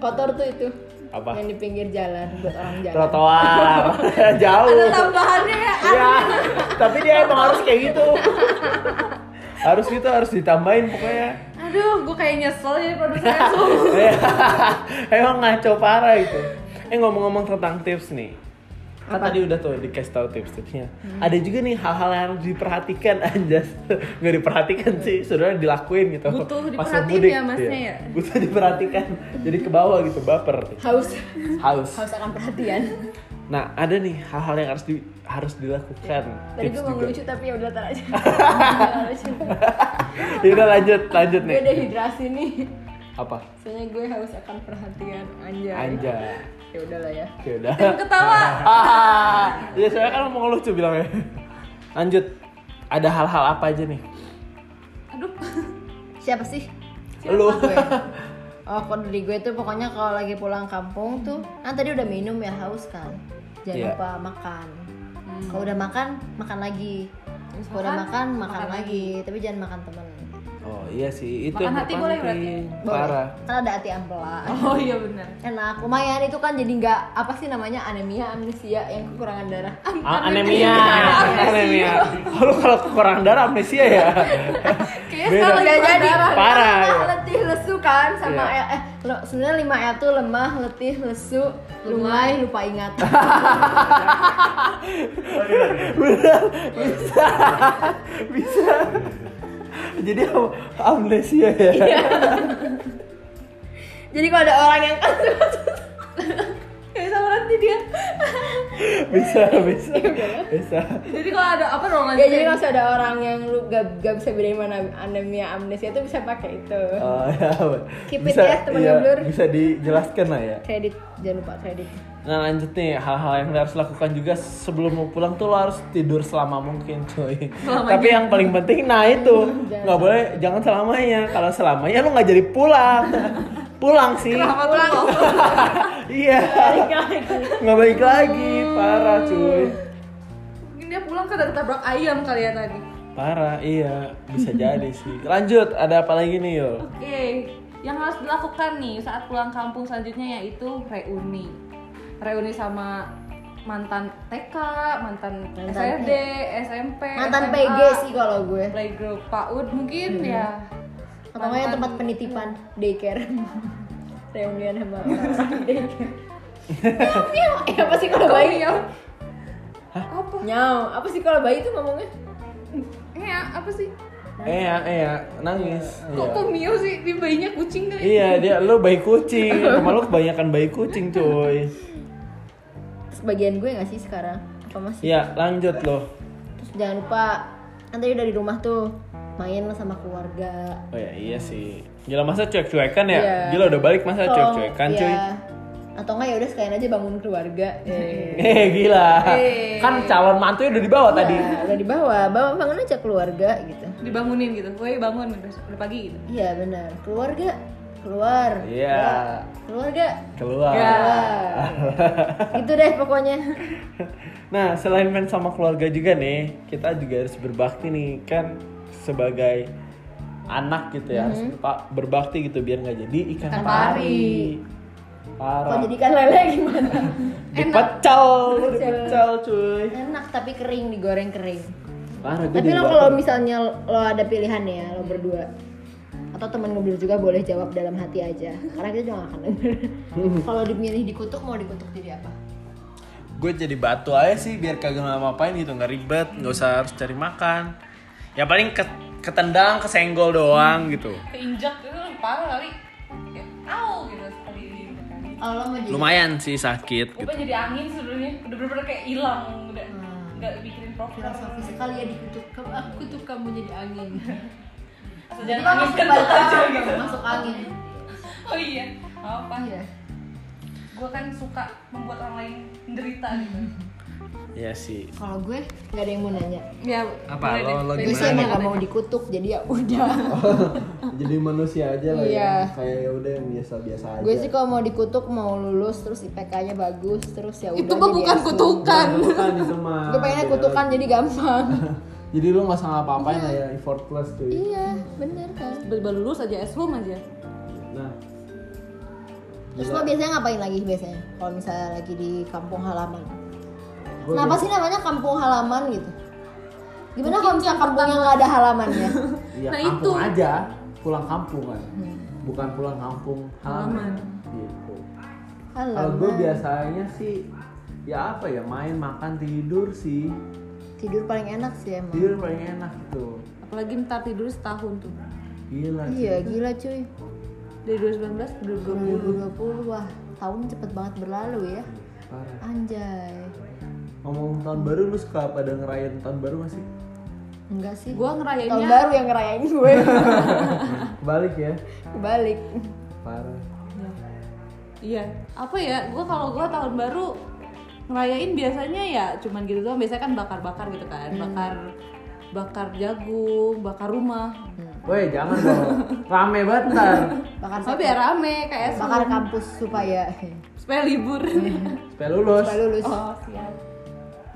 C: Kotor tuh itu.
B: Apa?
C: Yang di pinggir jalan
B: (laughs)
C: buat orang jalan.
B: Trotoar. (laughs)
A: Ada
B: Jauh.
A: tambahannya ya.
B: Iya. Tapi dia emang harus kayak gitu. (laughs) harus gitu harus ditambahin pokoknya.
A: Aduh, gue kayak nyesel jadi produser esum.
B: Iya. emang ngaco parah itu. Eh ngomong-ngomong tentang tips nih. Kan tadi udah tuh dikasih tahu tips-tipsnya.
A: Hmm.
B: Ada juga nih hal-hal yang harus diperhatikan (laughs) anjas. Nggak diperhatikan sih, sebenarnya dilakuin gitu.
A: Butuh
B: Pas
A: diperhatiin
B: mudik,
A: ya, masnya ya?
B: iya. Butuh diperhatikan. Jadi ke bawah gitu baper.
C: Haus
B: Haus.
C: haus akan perhatian.
B: Nah, ada nih hal-hal yang harus di- harus dilakukan.
C: Tadi gue
B: (laughs)
C: mau ngelucu tapi ya udah tar aja. (laughs)
B: Ya udah lanjut, lanjut
C: gue
B: nih.
C: dehidrasi nih.
B: Apa?
C: Soalnya gue haus akan perhatian
A: ya.
C: anjay.
B: Anjas.
C: Ya udahlah ya.
B: Ya udah.
A: Ketawa.
B: (laughs) Ah, ya saya kan mau ngelucu bilangnya. Lanjut, ada hal-hal apa aja nih?
A: Aduh.
C: Siapa sih?
B: Lu.
C: gue. Oh, kalau dari gue tuh pokoknya kalau lagi pulang kampung tuh, kan tadi udah minum ya haus kan. Jangan
B: Iya.
C: lupa makan. Kalau udah makan, makan lagi. Kalau udah
A: Makan,
C: Hmm. makan, makan,
A: makan
C: lagi. Tapi jangan makan temen.
B: (laughs) Oh iya sih, itu
A: Makan
B: yang
A: hati boleh
B: terpenting.
C: Boleh.
B: Parah.
C: Kan ada ati ampela.
A: Oh iya benar.
C: Enak, lumayan itu kan jadi nggak apa sih namanya anemia, amnesia yang kekurangan darah.
B: Ah,
C: (laughs)
B: anemia, anemia. Kalau kalau kekurangan darah amnesia
C: (laughs)
B: ya.
A: Kayaknya
B: Beda.
A: sekarang lagi
C: Udah jadi ya.
A: berdarah.
B: Parah,
C: lemah,
B: iya.
C: letih lesu kan sama
B: Iya.
C: L eh lo sebenarnya 5 L tuh lemah, letih, lesu, lumai, lupa ingat.
B: Bener, bisa, bisa. Jadi am- amnesia ya.
C: Iya. jadi kalau ada orang yang (laughs) kan
A: Kayak sama nanti dia.
B: (laughs) Bisa, bisa,
C: Iya,
B: bisa.
A: Jadi kalau ada apa dong
C: ya jadi kalau ada orang yang lu gak, gak bisa bedain mana anemia amnesia itu bisa pakai itu.
B: Oh, ya. iya,
C: Keep it ya, teman ngeblur.
B: Bisa dijelaskan lah ya.
C: Kredit, jangan lupa kredit.
B: Nah lanjut nih hal-hal yang lo harus lakukan juga sebelum mau pulang tuh lo harus tidur selama mungkin cuy. Tapi yang paling penting nah itu nggak boleh jangan selamanya. Kalau selamanya lo nggak jadi pulang. pulang sih.
A: Kenapa pulang?
B: Iya. Nggak baik lagi.
A: Oh.
B: Parah cuy.
A: Mungkin dia pulang karena ketabrak ayam kali ya tadi.
B: Parah iya bisa jadi sih. Lanjut ada apa lagi nih yo?
A: Oke. Yang harus dilakukan nih saat pulang kampung selanjutnya yaitu reuni. Reuni sama mantan TK, mantan,
C: Mantan
A: SRD, SMP, SMA,
C: Mantan PG sih Hmm. kalau gue.
A: Playgroup PAUD mungkin
C: (laughs)
A: ya.
C: Atau nggak yang
A: Mantan-
C: tempat penitipan daycare. (laughs) Reunian sama (laughs) orang daycare. Nyam, nyam. Eh, apa sih kalau bayi?
A: apa?
C: Nyam, apa sih kalau bayi tuh ngomongnya?
A: Ya, apa sih?
B: Eh ya, eh ya, nangis.
A: Kok
B: Iya.
A: kok Mio sih? Di bayinya kucing kali. ya?
B: Iya dia lo bayi kucing. Rumah lo kebanyakan bayi kucing cuy.
C: bagian gue gak sih sekarang? Apa masih?
B: Iya, lanjut loh.
C: Terus jangan lupa nanti udah di rumah tuh main sama keluarga.
B: Oh ya iya sih. Gila masa cuek-cuekan ya?
C: Iya.
B: Gila udah balik masa
C: Tolong,
B: cuek-cuekan cuy.
C: iya. Atau enggak ya udah sekalian aja bangun keluarga.
B: (laughs)
C: Eh.
B: Eh gila.
A: Eh.
B: Kan calon mantunya udah dibawa tadi.
C: Iya, udah dibawa, bawa bangun aja keluarga gitu.
A: dibangunin gitu woi bangun udah udah pagi gitu
C: Iya benar, keluarga keluar.
B: Iya.
C: Keluarga
B: Keluar.
C: Iya. keluar. gitu deh pokoknya.
B: (laughs) Nah, selain main sama keluarga juga nih, kita juga harus berbakti nih kan sebagai anak gitu ya,
C: Mm-hmm.
B: harus berpa- berbakti gitu biar nggak jadi ikan,
A: Ikan
B: pari.
C: Kok
B: Parah.
C: jadikan lele gimana?
B: Dipecel, dipecel cuy.
C: Enak tapi kering digoreng kering.
B: Parah gue
C: Tapi
B: jadi
C: lo kalau
B: baper.
C: misalnya lo ada pilihan nih ya lo berdua atau teman ngobrol juga boleh jawab dalam hati aja karena kita juga gak akan denger. Kalau dimilih dikutuk mau dikutuk jadi apa?
B: gue jadi batu aja sih biar kagak ngapa-ngapain gitu nggak ribet nggak usah harus cari makan ya paling ke- ketendang kesenggol doang gitu
A: keinjak gitu parah kali Kayak, au gitu sekali gitu kan.
C: Kalau lo mau jadi
B: lumayan sih sakit gitu
A: Gue jadi angin sebenarnya, udah bener-bener kayak hilang, udah
C: Hmm.
A: nggak mikirin proker.
C: filosofi sekali ya dikutuk kamu aku kutuk kamu jadi angin.
A: Asal
C: Jadi
A: jangan
C: kamu
A: angin
C: masuk
A: kentut
C: balik
A: aja
C: kamar,
A: gitu.
C: masuk angin.
A: Oh iya, nggak apa?
C: Iya.
A: Gue kan suka membuat orang lain menderita gitu.
B: ya sih
C: Kalau gue nggak ada yang mau nanya.
A: (laughs) Ya,
B: Apa, lo- lo
C: Gue
B: Gimana
C: sih emang
B: nih?
C: gak mau dikutuk jadi ya udah.
B: jadi manusia aja
C: lah ya. Iya.
B: kayak ya udah yang biasa-biasa
C: gue sih kalau mau dikutuk mau lulus terus IPK-nya bagus terus ya udah.
A: Itu mah
C: jadi
A: bukan
C: S2.
A: kutukan.
B: itu mah
C: Gue pengennya kutukan jadi gampang.
B: (laughs) jadi lu nggak salah apa-apain lah ya effortless tuh
C: iya, bener kan.
A: Baru lulus aja S-room aja.
B: nah
C: Terus lo biasanya ngapain lagi biasanya? Kalau misalnya lagi di kampung halaman. Kenapa sih namanya kampung halaman gitu? Gimana kalau misalnya kampungnya nggak ada halamannya?
B: ya
A: Nah,
B: kampung
A: itu.
B: aja pulang kampung kan bukan pulang kampung halaman gitu Kalau gue
C: Halaman.
B: biasanya sih ya apa ya main makan tidur sih
C: Tidur paling enak sih emang.
B: tidur paling enak gitu
A: Apalagi ntar tidur setahun tuh.
B: gila sih.
C: Iya, gila cuy.
A: Dari 2019 ke
C: 2020 wah, tahun cepet banget berlalu ya.
B: Parah.
C: Anjay.
B: ngomong tahun baru lu suka pada ngerayain tahun baru masih
C: (laughs) Enggak
A: 2020.
C: sih.
A: Gue
C: Tahun
A: ngerayainnya
C: baru yang ngerayain gue. (laughs)
B: balik ya
C: Balik.
B: parah
A: Iya, apa ya? Gue kalau gue tahun baru ngerayain biasanya ya cuman gitu doang. Biasanya kan bakar-bakar gitu kan, bakar bakar jagung, bakar rumah.
B: woi jangan dong rame banget ntar
C: Bakar
A: Soalnya biar ya rame kayak es
C: bakar kampus supaya
A: supaya libur. (laughs)
B: supaya lulus
C: supaya lulus.
A: Hmm. oh siap.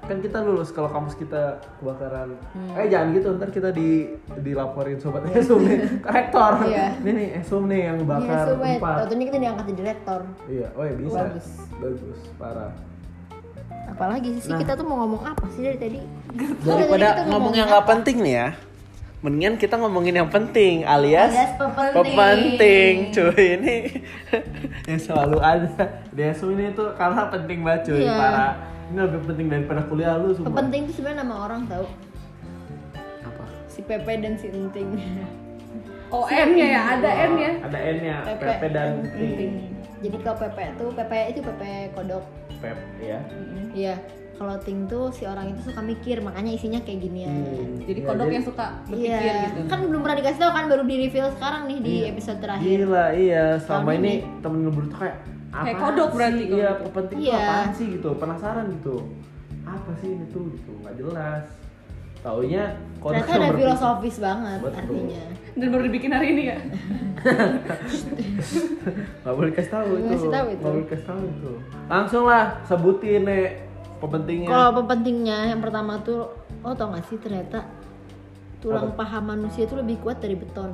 B: kan kita lulus kalau kampus kita kebakaran
C: Hmm.
B: eh jangan gitu ntar kita di dilaporin sobat esum
C: (laughs)
B: nih korektor
C: Iya.
B: ini nih esum nih yang
C: Iya,
B: bakar
C: supaya
B: tempat
C: tentunya kita diangkat jadi rektor.
B: iya woi bisa
C: Bagus.
B: bagus parah
C: Apalagi sih kita tuh mau ngomong apa sih dari tadi?
B: Nah. daripada ngomong yang nggak penting nih ya mendingan kita ngomongin yang penting alias,
C: Alias pepenting.
B: pepenting cuy ini (laughs) yang selalu ada Desu ini tuh karena penting banget cuy
C: Iya.
B: parah ini lebih penting daripada kuliah lu semua
C: Pepenting itu sebenarnya nama orang tahu.
B: apa
C: Si Pepe dan si Enting.
A: Oh M-nya ya, ada M-nya.
B: ada N nya PP dan penting
C: Jadi kalau Pepe tuh Pepe itu Pepe kodok.
B: Pep ya
C: Iya. Kalau Ting tuh si orang itu suka mikir, makanya isinya kayak ginian.
B: Hmm.
A: Jadi
B: Ya,
A: kodok yang suka
C: Iya.
A: berpikir gitu.
C: Kan belum pernah dikasih tahu kan baru di reveal sekarang nih di episode terakhir.
B: Iya. gila iya selama ini temen lu berdua tuh kayak apa
A: Kayak kodok berarti, gitu.
B: iya pepenting tuh
C: Iya.
B: apaan sih gitu penasaran gitu apa sih ini tuh gitu nggak jelas taunya kodok
C: Ternyata ada
B: yang berpikir.
C: filosofis banget
B: Betul.
C: artinya.
A: Dan baru dibikin hari ini ya.
B: Gak boleh kasih tahu itu.
C: Nggak kasih tahu itu.
B: Nggak boleh kasih tahu itu. Langsung lah sebutin nek pepentingnya.
C: Kalau pepentingnya yang pertama tuh, oh tau gak sih ternyata tulang paha manusia itu lebih kuat dari beton.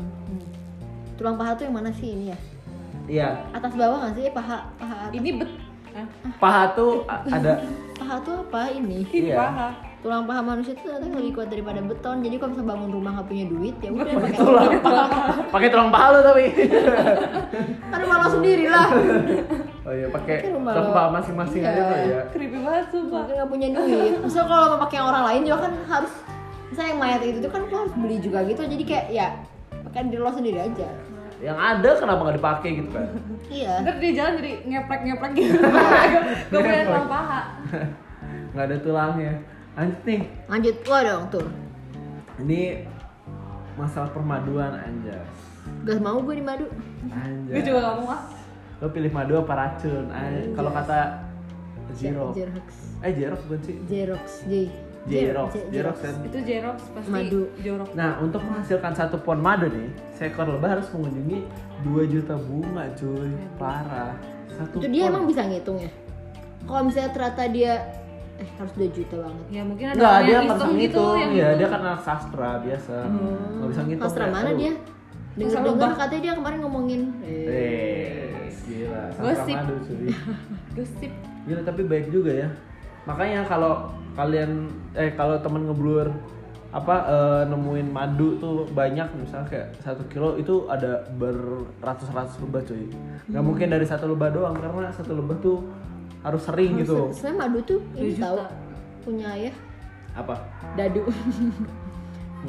C: Tulang paha tuh yang mana sih ini ya?
B: Iya.
C: Atas bawah gak sih Eh, paha paha atas.
A: (laughs) Ini bet Hah?
B: Paha tuh a- ada
C: paha tuh apa ini?
A: (laughs) ini
B: Iya.
A: paha.
C: Tulang paha manusia tuh ternyata lebih kuat daripada beton. Jadi kalau bisa bangun rumah nggak punya duit ya udah pakai
B: tulang. (laughs) pakai tulang paha lu
C: (laughs)
B: tapi.
C: Kan rumah lo sendiri lah.
B: Oh iya pakai
C: Pakai Iya. rumah
B: tulang
C: lo.
B: paha masing-masing aja tuh ya.
A: Creepy banget sumpah.
C: Mungkin nggak punya duit. Misal kalau mau pakai yang orang lain juga kan harus misalnya yang mayat itu tuh kan lo harus beli juga gitu. Jadi kayak ya pakai diri lo sendiri aja.
B: Yang ada kenapa nggak dipakai gitu kan?
C: Iya.
A: (laughs) Ntar dia jalan jadi ngeprek-ngeprek gitu. Gue punya tulang paha.
B: nggak ada tulangnya lanjut nih
C: Lanjut lo dong tur.
B: ini masalah permaduan anjas
C: Gak mau gue di madu.
B: anjas
A: Gue juga gak mau ah.
B: lo pilih madu apa racun Anj- kalau kata Zero
C: Jerox.
B: eh Zero bukan sih
C: Jerox. J.
B: Jerox
C: J-
B: Jerox kan
A: Itu Jerox pasti
C: Madu.
A: jorok.
B: Nah, untuk menghasilkan satu pohon madu nih, seekor lebah harus mengunjungi 2 juta bunga, cuy. Parah. Satu
C: Itu dia
B: pohon.
C: emang bisa ngitung ya. Kalau misalnya ternyata dia eh harus 2 juta banget.
A: Ya mungkin ada
B: Enggak,
A: orang
B: dia
A: yang
B: kan
A: iseng gitu
B: ngitung.
A: yang
B: Iya,
A: gitu.
B: dia kan anak sastra biasa. Nggak bisa ngitung.
C: Hmm. Sastra
B: kayak,
C: mana
B: aduh.
C: dia? Dengar
A: Sastra
C: dengar
A: lebah.
C: katanya dia kemarin ngomongin. Eh.
B: Eh, gila. Sastra
A: Gosip.
B: madu, cuy.
A: Gosip.
B: Gila, tapi baik juga ya. Makanya kalau kalian eh kalau temen ngeblur apa eh, nemuin madu tuh banyak misalnya kayak satu kilo itu ada beratus-ratus lebah cuy nggak mungkin dari satu lebah doang karena satu lebah tuh harus sering gitu
C: Saya madu tuh
A: 2
C: ini
A: juta.
C: tahu punya ayah
B: apa
C: dadu. (laughs)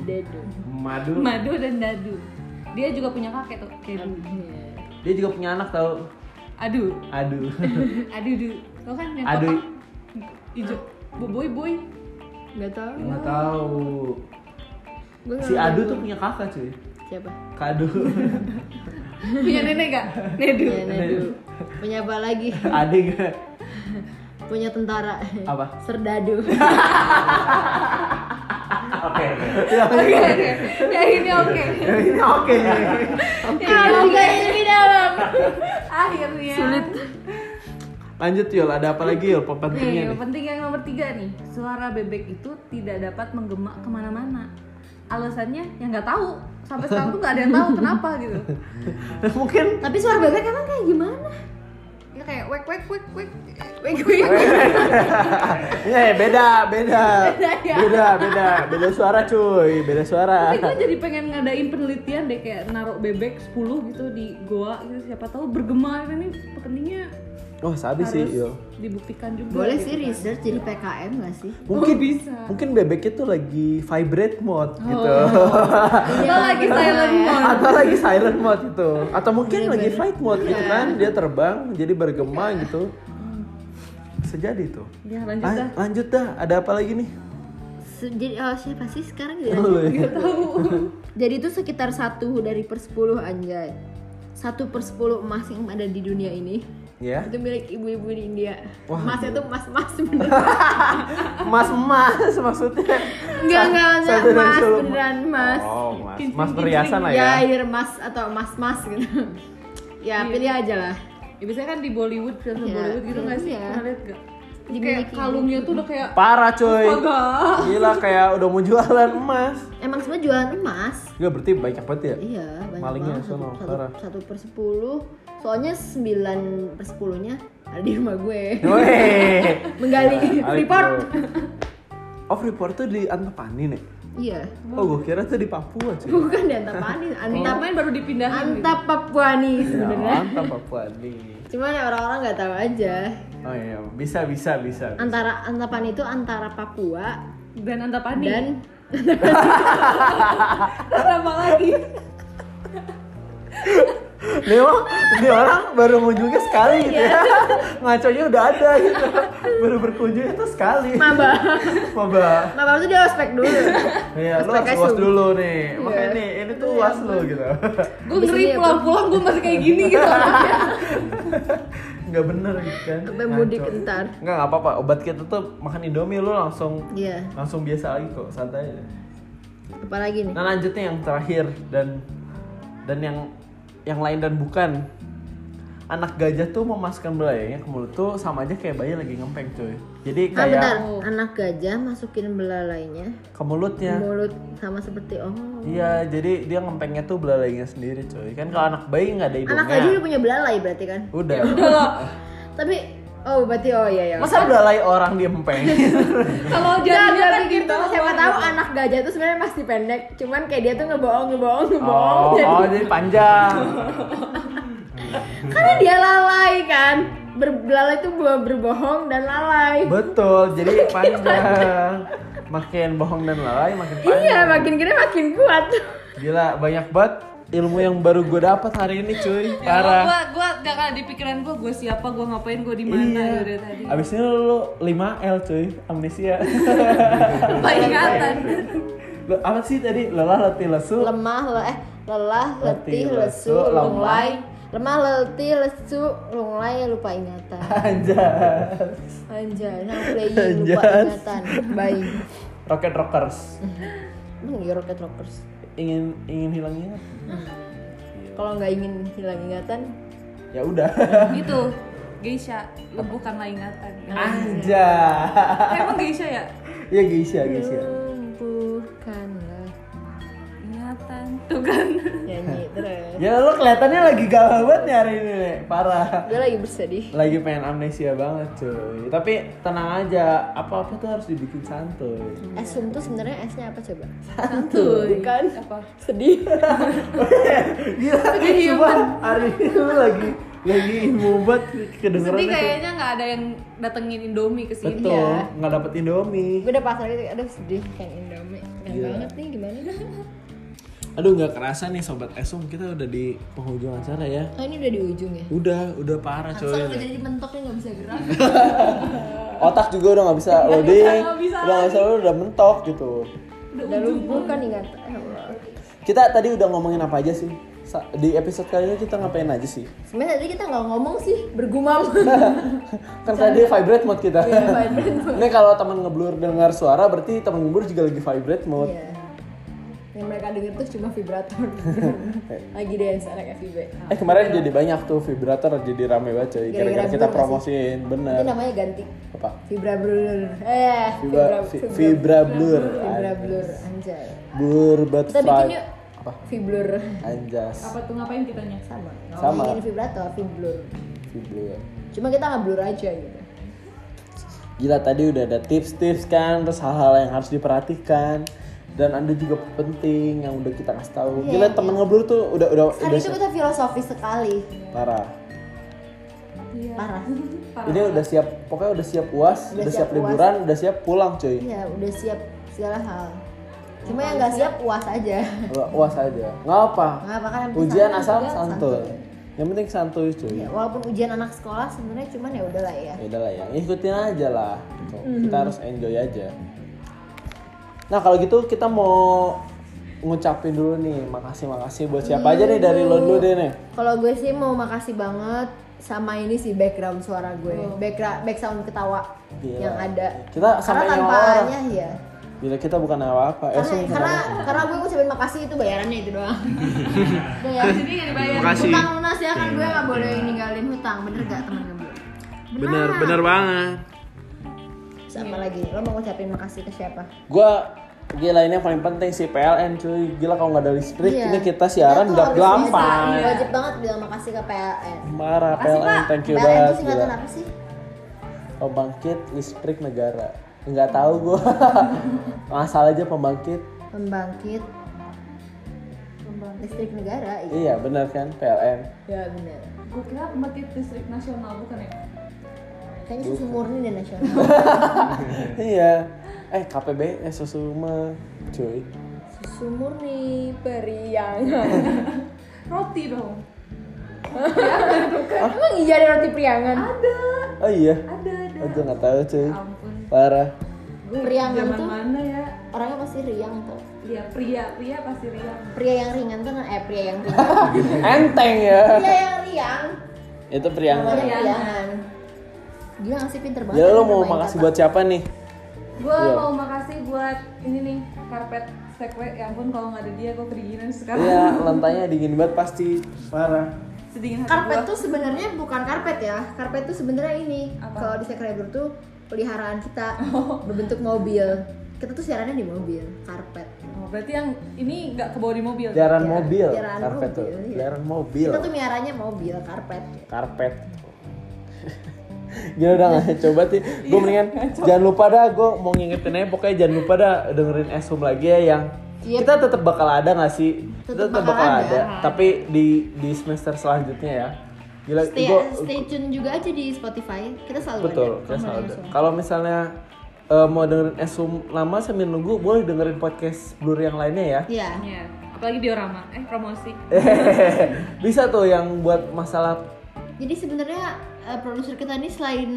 C: dadu.
B: madu
A: Madu dan dadu. Dia juga punya kakek tuh, Kedu.
C: Iya.
B: dia juga punya anak tau
A: Aduh.
B: aduh
A: (laughs) Aduh, du. Lo kan yang
B: Aduh.
A: kotak hijau. Bo- Boy, boy.
C: Gak tahu.
B: nggak tahu
C: Gua nggak
B: si
C: tahu.
B: adu tuh punya kakak cuy (laughs)
C: siapa?
B: kadu
A: Punya nenek gak? Nedu.
C: Punya Nadu. Iya, Punya apa lagi?
B: ade gak
C: Punya tentara.
B: Apa?
C: Serdadu.
B: oke
A: Oke, (laughs) oke. Ya ini oke.
B: ini oke
A: Ya, ini oke.
C: ini dalam.
A: (laughs) Akhirnya.
B: lanjut yul ada apa lagi yul pentingnya
A: Nih, Iya, yang
B: nih
A: penting yang nomor tiga nih. Suara bebek itu tidak dapat menggema kemana-mana. Alasannya yang nggak tahu. Sampai sekarang tuh nggak ada yang
B: (laughs)
A: tahu kenapa gitu.
B: mungkin
C: Tapi suara bebek emang kayak gimana?
A: Ya kayak wek wek wek wek wek wek.
B: Iya, beda, beda.
A: (laughs) Beda ya?
B: Beda, beda, beda suara cuy, beda suara.
A: Tapi gue jadi pengen ngadain penelitian deh kayak naruh bebek 10 gitu di goa gitu siapa tahu bergema gitu. ini pentingnya
B: Oh, sabi sih,
A: harus
B: yo.
A: dibuktikan juga.
C: Boleh
A: gitu
C: sih
A: kan.
C: research jadi PKM gak sih?
A: Oh,
B: Mungkin
A: bisa. Oh,
B: Mungkin bebeknya tuh lagi vibrate mode gitu.
A: iya.
C: Iya,
A: Atau lagi silent mode.
B: (laughs) Atau lagi silent mode gitu. Atau mungkin lagi fight mode gitu
C: Iya.
B: kan, dia terbang jadi bergema gitu. Bisa jadi tuh.
A: Ya lanjut
B: Lan-
C: Ah.
A: dah.
B: lanjut dah, ada apa lagi nih?
C: Se- Jadi oh, siapa sih sekarang
A: Iya,
C: gitu?
B: (laughs) Lu ya?
A: Gak tahu.
C: Jadi itu sekitar satu dari per 10 anjay. Satu per 10 emas yang ada di dunia ini
B: Ya.
C: itu milik ibu-ibu di India.
B: Wah,
C: emasnya
B: gila.
C: tuh
B: (laughs)
C: emas-emas beneran.
B: Mas-mas maksudnya.
C: Enggak, enggak, enggak,
B: Satu dari
C: emas
B: sepuluh.
C: beneran emas.
B: Oh, mas.
A: Kincing,
B: Mas
A: kincing.
B: perhiasan lah
C: ya,
B: ya.
C: air emas atau emas-emas gitu. (laughs) ya,
A: Iya.
C: pilih aja lah.
A: Ya, biasanya kan di Bollywood film
C: Iya,
A: Bollywood gitu nggak sih?
C: iya. gitu.
A: Pernah lihat nggak? Terus Kayak
C: Dimiliki.
A: kalungnya tuh udah kayak
B: Parah cuy.
C: Oh,
A: agak
B: Gila kayak udah mau jualan emas.
C: Emang semua jualan emas.
B: Gak berarti banyak banget ya?
C: Iya, banyak
B: Malingnya
C: banget.
B: sono,
C: satu, satu,
B: parah.
C: satu per sepuluh. Soalnya sembilan per sepuluhnya ada di rumah gue.
B: (laughs) Weh.
C: Menggali
B: Ayo.
C: report.
B: Oh Freeport tuh di Antapani nih.
C: Iya.
B: Oh gue kira tuh di Papua cuy.
C: Bukan di Antapani, Antap
A: Namanya baru dipindahin gitu.
C: Antap
B: Oh.
C: Papuani
B: Ya,
C: sebenarnya.
B: Antap Papua nih.
C: Cuman ya orang-orang nggak tahu aja.
B: Oh iya bisa bisa bisa.
C: Antara Antapani itu antara Papua
A: Dan Antapani. (laughs) Dan
C: dan
A: apa lagi?
B: Nih orang, nih orang baru ngunjungnya sekali gitu
C: Iya.
B: ya. Ngaconya udah ada gitu. Baru berkunjung itu sekali.
C: Maba.
B: Maba.
C: Maba itu dia ospek
B: (laughs)
C: dulu.
B: Iya, lu
C: Ospek
B: harus
C: aja
B: was
C: dulu.
B: dulu nih.
C: Iya.
B: Makanya nih, ini tuh was lu gitu. (laughs)
A: Gue
C: Abis
A: ngeri
C: ini apa?
A: pulang-pulang gue masih kayak gini gitu. (laughs)
B: Nggak bener gitu kan.
C: Sampai mudik
B: Ngaco.
C: ntar.
B: Nggak, nggak apa-apa. Obat kita tuh makan Indomie lu langsung
C: Iya.
B: langsung biasa lagi kok santai aja
C: Apalagi nih?
B: nah lanjutnya yang terakhir dan dan yang yang lain dan bukan anak gajah tuh memasukkan belayangnya ke mulut tuh sama aja kayak bayi lagi ngempeng cuy jadi
C: Ah
B: kayak
C: bentar, anak gajah masukin belalainya
B: ke mulutnya
C: ke mulut sama seperti oh
B: iya jadi dia ngempengnya tuh belayangnya sendiri cuy kan kalau anak bayi nggak ada hidungnya
C: Anak gajah udah punya belalai berarti kan?
B: udah
A: gitu
C: Tapi oh berarti oh iya ya.
B: masa belalai orang diempeng
A: Kalau
C: Jangan
A: jadinya kan gitu.
C: gitu. Siapa tahu anak gajah itu sebenarnya masih pendek, cuman kayak dia tuh ngebohong, ngebohong,
B: (laughs)
C: ngebohong.
B: oh,
C: Jadi-
B: oh jadi (laughs) panjang
C: Karena dia lalai kan. Ber- Belalai itu ber- berbohong dan lalai.
B: betul jadi panjang makin bohong dan lalai makin panjang
C: Iya, makin gede makin kuat.
B: Gila, banyak banget ilmu yang baru gue dapat hari ini cuy
A: Ya,
B: parah
A: Gua, gua gak ada di pikiran gua, gua siapa, gua ngapain, gua di mana gitu dari tadi.
B: Iya. Abis ini lu 5L cuy, amnesia. (laughs)
A: Lupa (laughs) ingatan.
B: Lu- apa sih tadi? Lelah, letih, lesu.
C: lemah le eh lelah letih lesu lunglai lemah letih lesu lunglai lupa ingatan
B: (laughs) Anjay.
C: anjay nah playing lupa
B: Anjas.
C: ingatan baik
B: Rocket Rockers.
C: emang ya rocket rockers
B: Ingin ingin hilang ingat.
C: kalau nggak ingin hilang ingatan
B: Ya udah.
A: Itu Gitu. Geisha, lu bukanlah (laughs) ingatan.
B: Anjay.
A: Eh, Emang Geisha ya?
B: Ya Geisha, Geisha.
C: lumpuhkanlah
A: Ingatan tuh kan.
C: nyanyi terus
B: Ya lu kelihatannya lagi galau banget nih hari ini, Nek. Parah.
C: gue lagi bersedih
B: Lagi pengen amnesia banget cuy. Tapi tenang aja, apa-apa tuh harus dibikin
A: (laughs)
B: santuy.
C: es sun tuh sebenarnya esnya apa coba
A: Santuy.
C: Bukan.
A: Apa?
C: kan? sedih
B: Gila, sumpah hari ini lu lagi lagi mubat kedengeran
A: Sedih ya. kayaknya nggak ada yang datengin Indomie ke sini.
B: Betul, nggak dapet Indomie.
C: gue udah pasar itu aduh sedih kan indomie Enak banget nih gimana (laughs)
B: Aduh nggak kerasa nih sobat Esum kita udah di penghujung acara ya.
C: oh ini udah di ujung ya
B: Udah, udah parah coy.
C: Soalnya udah jadi mentoknya nggak bisa gerak
B: Otak juga udah nggak bisa loading,
A: nggak bisa
B: udah nggak bisa loading, udah mentok gitu.
C: udah lumpuh kan ingatan Ya Allah.
B: Kita tadi udah ngomongin apa aja sih? Sa- Di episode kali ini kita ngapain aja sih?
C: sebenarnya tadi kita nggak ngomong sih bergumam
B: kan tadi vibrate mode kita.
C: vibrate
B: Ini kalau teman ngeblur dengar suara berarti teman ngeblur juga lagi vibrate mode.
C: (laughs) Iya. yang mereka denger tuh cuma (laughs) vibrator lagi dance anak FIB
B: Eh kemarin jadi banyak tuh vibrator jadi rame banget coy. Gara-gara
C: Gara-gara
B: kita
C: blur nggak
B: promosiin,
C: itu
B: bener.
C: namanya ganti
B: Apa?
C: Vibra Blur eh
B: Vibra, vi- vibra blur.
C: Vibra Blur anjay
B: Blur but
C: kita bikin
B: fri-
C: yuk
B: Apa?
C: Viblur
B: Anjas.
A: Apa tuh ngapain kitanya?
C: sama
B: Sama.
C: ngomongin vibrator Viblur
B: Viblur.
C: cuma kita nggak blur aja gitu
B: Gila tadi udah ada tips-tips kan, terus hal-hal yang harus diperhatikan dan ada juga penting yang udah kita kasih tahu. Gila temen ngeblur tuh udah udah
C: hari
B: udah
C: itu kita filosofis sekali
B: parah.
A: Iya.
C: parah
B: Iya. Ini udah siap, pokoknya udah siap uas, udah, siap,
C: siap UAS.
B: liburan, udah siap pulang cuy.
C: Iya, udah siap segala hal. Cuma yang nggak siap puas aja.
B: Udah Uas aja. Nggak apa.
C: Nggak apa kan yang penting
B: Ujian
C: santuy
B: asal
C: juga
B: santuy. Yang penting santuy cuy.
C: Ya, walaupun ujian anak sekolah sebenarnya cuman ya udahlah ya.
B: ya udahlah ya ikutin aja lah gitu.
C: Hmm.
B: kita harus enjoy aja nah kalau gitu kita mau ngucapin dulu nih makasih makasih buat siapa aja nih dari lo dulu deh nih
C: Kalau gue sih mau makasih banget sama ini sih background suara gue, background background ketawa
B: Gila.
C: yang ada.
B: Oh. Iya. Kita
C: karena
B: sampai nyawa Eh,
C: tanpanya ya.
B: bila kita bukan apa apa
C: Karena karena, karena gue ngucapin makasih itu bayarannya itu
B: (laughs)
C: doang. Udah ya.
A: Jadi nggak dibayar.
C: Hutang lunas ya kan gue nggak boleh ninggalin hutang, bener gak teman-teman?
B: bener bener banget
C: Sama lagi, lo mau ngucapin makasih ke siapa?
B: gua gila ini yang paling penting sih PLN cuy gila kalau nggak ada listrik
C: Iya.
B: ini kita siaran
C: Kita tuh
B: nggak
C: harus
B: gampang
C: bisa, Wajib banget bilang makasih ke PLN.
B: marah
A: Makasih,
B: PLN
A: Pak.
B: thank you Iya.
C: PLN itu
B: banget
C: singkatan
B: gila
C: apa sih?
B: pembangkit listrik negara nggak tahu
C: (laughs)
B: gua masalah aja pembangkit
C: Pembangkit listrik negara. Iya.
B: Iya benar kan
C: (laughs)
B: PLN.
C: Ya benar.
A: Gue kira pembangkit listrik nasional bukan ya?
C: Kayaknya susu murni dan nasional.
B: (laughs) iya. Eh KPB eh Susuma cuy.
C: susu murni periangan. (laughs)
A: Roti dong.
C: Emang iya ada roti periangan?
B: Oh iya.
A: Ada, ada. Ya
B: Aduh nggak tahu cuy.
A: Ampun.
C: (laughs)
B: Parah.
A: Gue
C: Priangan
A: zaman
C: tuh?
A: mana ya?
C: Orangnya pasti riang tuh.
A: Iya, pria, pria pasti riang.
C: Pria yang ringan tuh kan eh pria yang riang.
B: (laughs) Enteng ya.
C: pria yang riang.
B: Itu priang.
C: Namanya periangan. Gila ngasih pinter banget.
B: Ya
C: ya,
B: lo mau
C: bermain
B: makasih
C: kata.
B: buat siapa nih?
A: Gue
B: Iya.
A: mau makasih buat ini nih karpet sekre. Ya ampun kalau nggak ada dia gue kedinginan sekarang.
C: (laughs)
B: Iya lantainya dingin banget pasti. Parah.
A: Sedingin hati
C: Karpet
A: gue.
C: tuh sebenarnya bukan karpet ya. Karpet tuh sebenarnya ini. Kalau di Sekreber tuh peliharaan kita berbentuk mobil. Kita tuh siarannya di mobil, karpet.
A: Oh, berarti yang ini nggak kebawa di mobil.
B: Jaran mobil.
C: jarang
B: Karpet
C: mobil,
B: tuh.
C: iya.
B: Jaran mobil.
C: Kita tuh miaranya mobil, karpet.
B: Karpet. (laughs) Gila udah nggak coba sih
C: Iya.
B: Gue
C: (laughs)
B: mendingan Jangan lupa dah Gue mau ngingetin aja Pokoknya jangan lupa dah Dengerin Esum lagi ya yang
C: Yep.
B: Kita tetap bakal ada gak sih?
C: Iya. Tetep
B: Kita tetap bakal
C: bakal
B: ada,
C: ada.
B: Tapi di di semester selanjutnya ya Gila
C: Stay,
B: gua,
C: stay tune juga aja di Spotify. Kita selalu
B: Betul
C: ada.
B: kita
C: Kamu
B: selalu ada.
C: langsung.
B: Kalau misalnya eh, Mau dengerin Esum lama sambil nunggu Boleh dengerin podcast Blur yang lainnya ya (laughs)
C: Iya.
A: Iya. apalagi diorama eh promosi
B: Bisa tuh yang buat masalah
C: Jadi sebenarnya eh, produser kita ini selain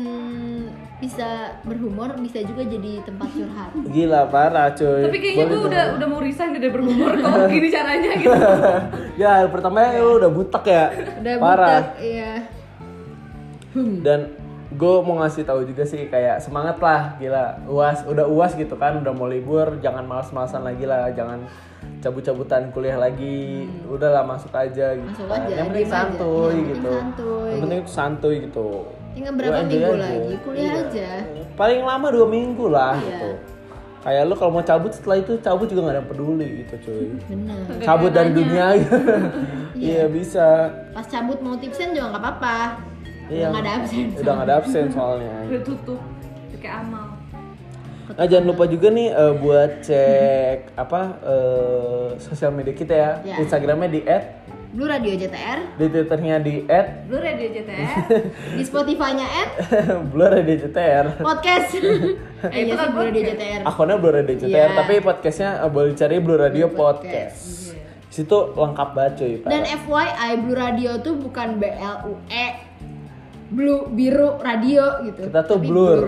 C: bisa berhumor, bisa juga jadi tempat curhat.
B: gila parah gitu. cuy.
A: tapi kayaknya
B: iya, Boleh
A: gue
B: tuh.
A: udah udah mau resign udah berumur kok gini caranya gitu
B: (laughs) ya pertama lu udah butek ya.
C: Udah
B: parah.
C: butek, Hmm. iya.
B: dan gue mau ngasih tahu juga sih kayak semangat lah gila uas udah uas gitu kan udah mau libur jangan males-malesan lagi lah jangan cabut-cabutan kuliah lagi udahlah masuk aja gitu
C: Hmm. Masuk
B: kan.
C: aja,
B: yang penting
C: diem aja.
B: santuy
C: Yang penting
B: gitu
C: santuy
B: yang penting santuy gitu
C: Tinggal
B: Lu
C: berapa
B: enjoy
C: minggu
B: aja. Iya.
C: lagi? Kuliah aja.
B: paling lama dua minggu lah
C: Iya.
B: gitu kayak lu kalau mau cabut setelah itu cabut juga gak ada yang peduli gitu cuy
C: Bener.
B: cabut dari
C: (laughs)
B: dunia
C: Iya.
B: iya bisa
C: Pas cabut mau tipsen juga nggak apa-apa.
B: Iya.
C: Nggak ada absen.
B: udah gak ada absen soalnya
A: udah tutup kayak amal
B: Nah jangan lupa juga nih eh, buat cek apa eh, sosial media kita ya.
C: Ya.
B: Instagramnya di @,
C: Blue Radio JTR,
B: di Twitternya di @,
A: lu radio JTR
C: di Spotify-nya at
B: (laughs) Blur Radio JTR. (laughs)
C: podcast.
A: Eh, itu
C: iya sih
A: kan
C: Blue Radio
A: podcast.
C: JTR.
B: Akunnya Blur Radio JTR,
C: Iya.
B: tapi podcastnya eh, boleh cari Blur Radio Podcast.
C: Podcast.
B: Situ lengkap banget cuy. Pak.
C: Dan FYI Blue Radio tuh bukan B L U E Blue biru radio gitu.
B: Kita tuh
C: Tapi
B: blur.
A: blur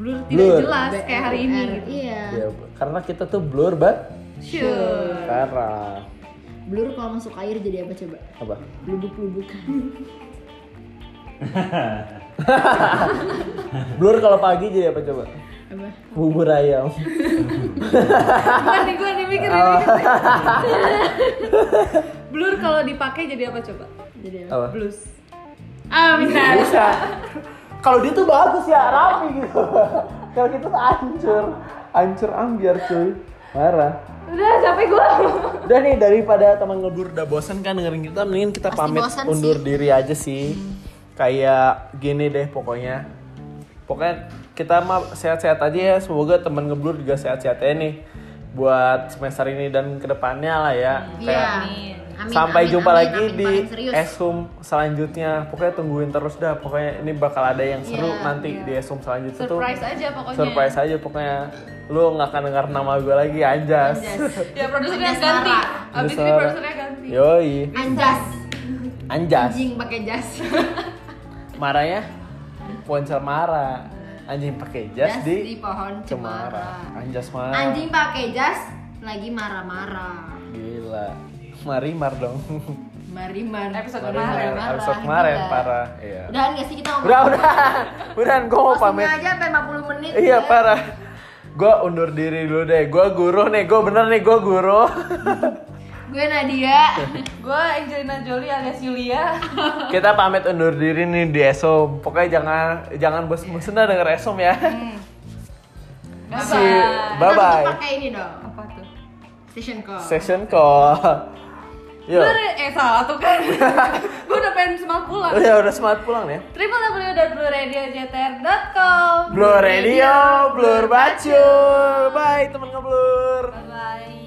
B: Blur.
A: tidak jelas kayak hari ini
C: BLUR,
A: gitu
C: Iya.
B: Ya, karena kita tuh blur banget.
A: sure
B: (laughs) Karena
C: Blur kalau masuk air jadi apa coba?
B: apa?
C: Lubuk-lubukan.
B: Blur kalau pagi jadi apa coba?
C: Apa?
B: Bubur ayam.
A: bukan nih gue nih mikir nih,
B: Oh. (laughs)
A: mikir. blur kalau dipakai jadi apa coba
C: Jadi apa?
B: Apa?
A: blues ah bisa
B: bisa kalau dia tuh bagus ya rapi gitu kalau kita tuh hancur hancur ambiar cuy parah
A: udah capek gue
B: udah nih daripada teman ngebur udah bosen kan dengerin kita mendingan kita
C: Pasti
B: pamit
C: bosen
B: undur
C: sih.
B: diri aja sih kayak gini deh pokoknya pokoknya kita mah sehat-sehat aja ya semoga teman ngeblur juga sehat-sehat aja nih buat semester ini dan kedepannya lah ya
C: Iya.
B: Kayak-
C: Amin,
B: Sampai
C: amin,
B: jumpa
C: amin,
B: lagi
C: amin,
B: di
C: paling serius.
B: Esum selanjutnya. Pokoknya tungguin terus dah. Pokoknya ini bakal ada yang seru
C: Iya,
B: nanti di Esum selanjutnya
A: surprise aja
B: tuh.
A: pokoknya
B: Surprise aja pokoknya. Lu nggak akan dengar nama gue lagi anjas.
A: ya produsernya
C: Ada
A: ganti abis
C: suara.
A: ini
B: Ada suara.
A: produsernya ganti
B: Yoi,
C: Anjas.
B: anjas.
C: Anjing pakai jas.
B: Marahnya ponsel marah. Anjing pakai jas
C: Jas
B: di
C: di pohon
B: cemara.
C: cemara.
B: Anjas marah.
C: Anjing pakai jas lagi marah-marah.
B: Gila. Mari mar dong.
C: Marimar.
A: Episode
B: Marimar,
A: kemarin.
B: Episode kemarin
C: Udah.
B: parah. Iya.
C: Udahan gak sih kita ngomong?
B: Udah, udah. (laughs) Udahan gue mau
C: Closing
B: pamit.
C: aja sampai 50 menit.
B: Iya
C: ya.
B: parah. Gue undur diri dulu deh. Gue guru nih. Gue bener nih. Gue guru. (laughs)
C: Gue Nadia.
A: gue Angelina Jolie alias Yulia
B: Kita pamit undur diri nih di Esom. Pokoknya jangan jangan bosan-bosan dah denger Esom ya. (laughs) (laughs)
A: Hmm.
B: Si bye
C: Kita
B: bye.
C: pakai ini dong.
A: apa tuh
C: Station call.
B: Session call. Yo.
A: Blur, eh salah tuh
B: (laughs)
A: kan gue udah pengen semangat pulang
B: Udah udah semangat pulang Oh, ya.
A: www.blurradiojtr.com
B: Blur radio, blur bacu. Bye teman ngeblur.
A: bye bye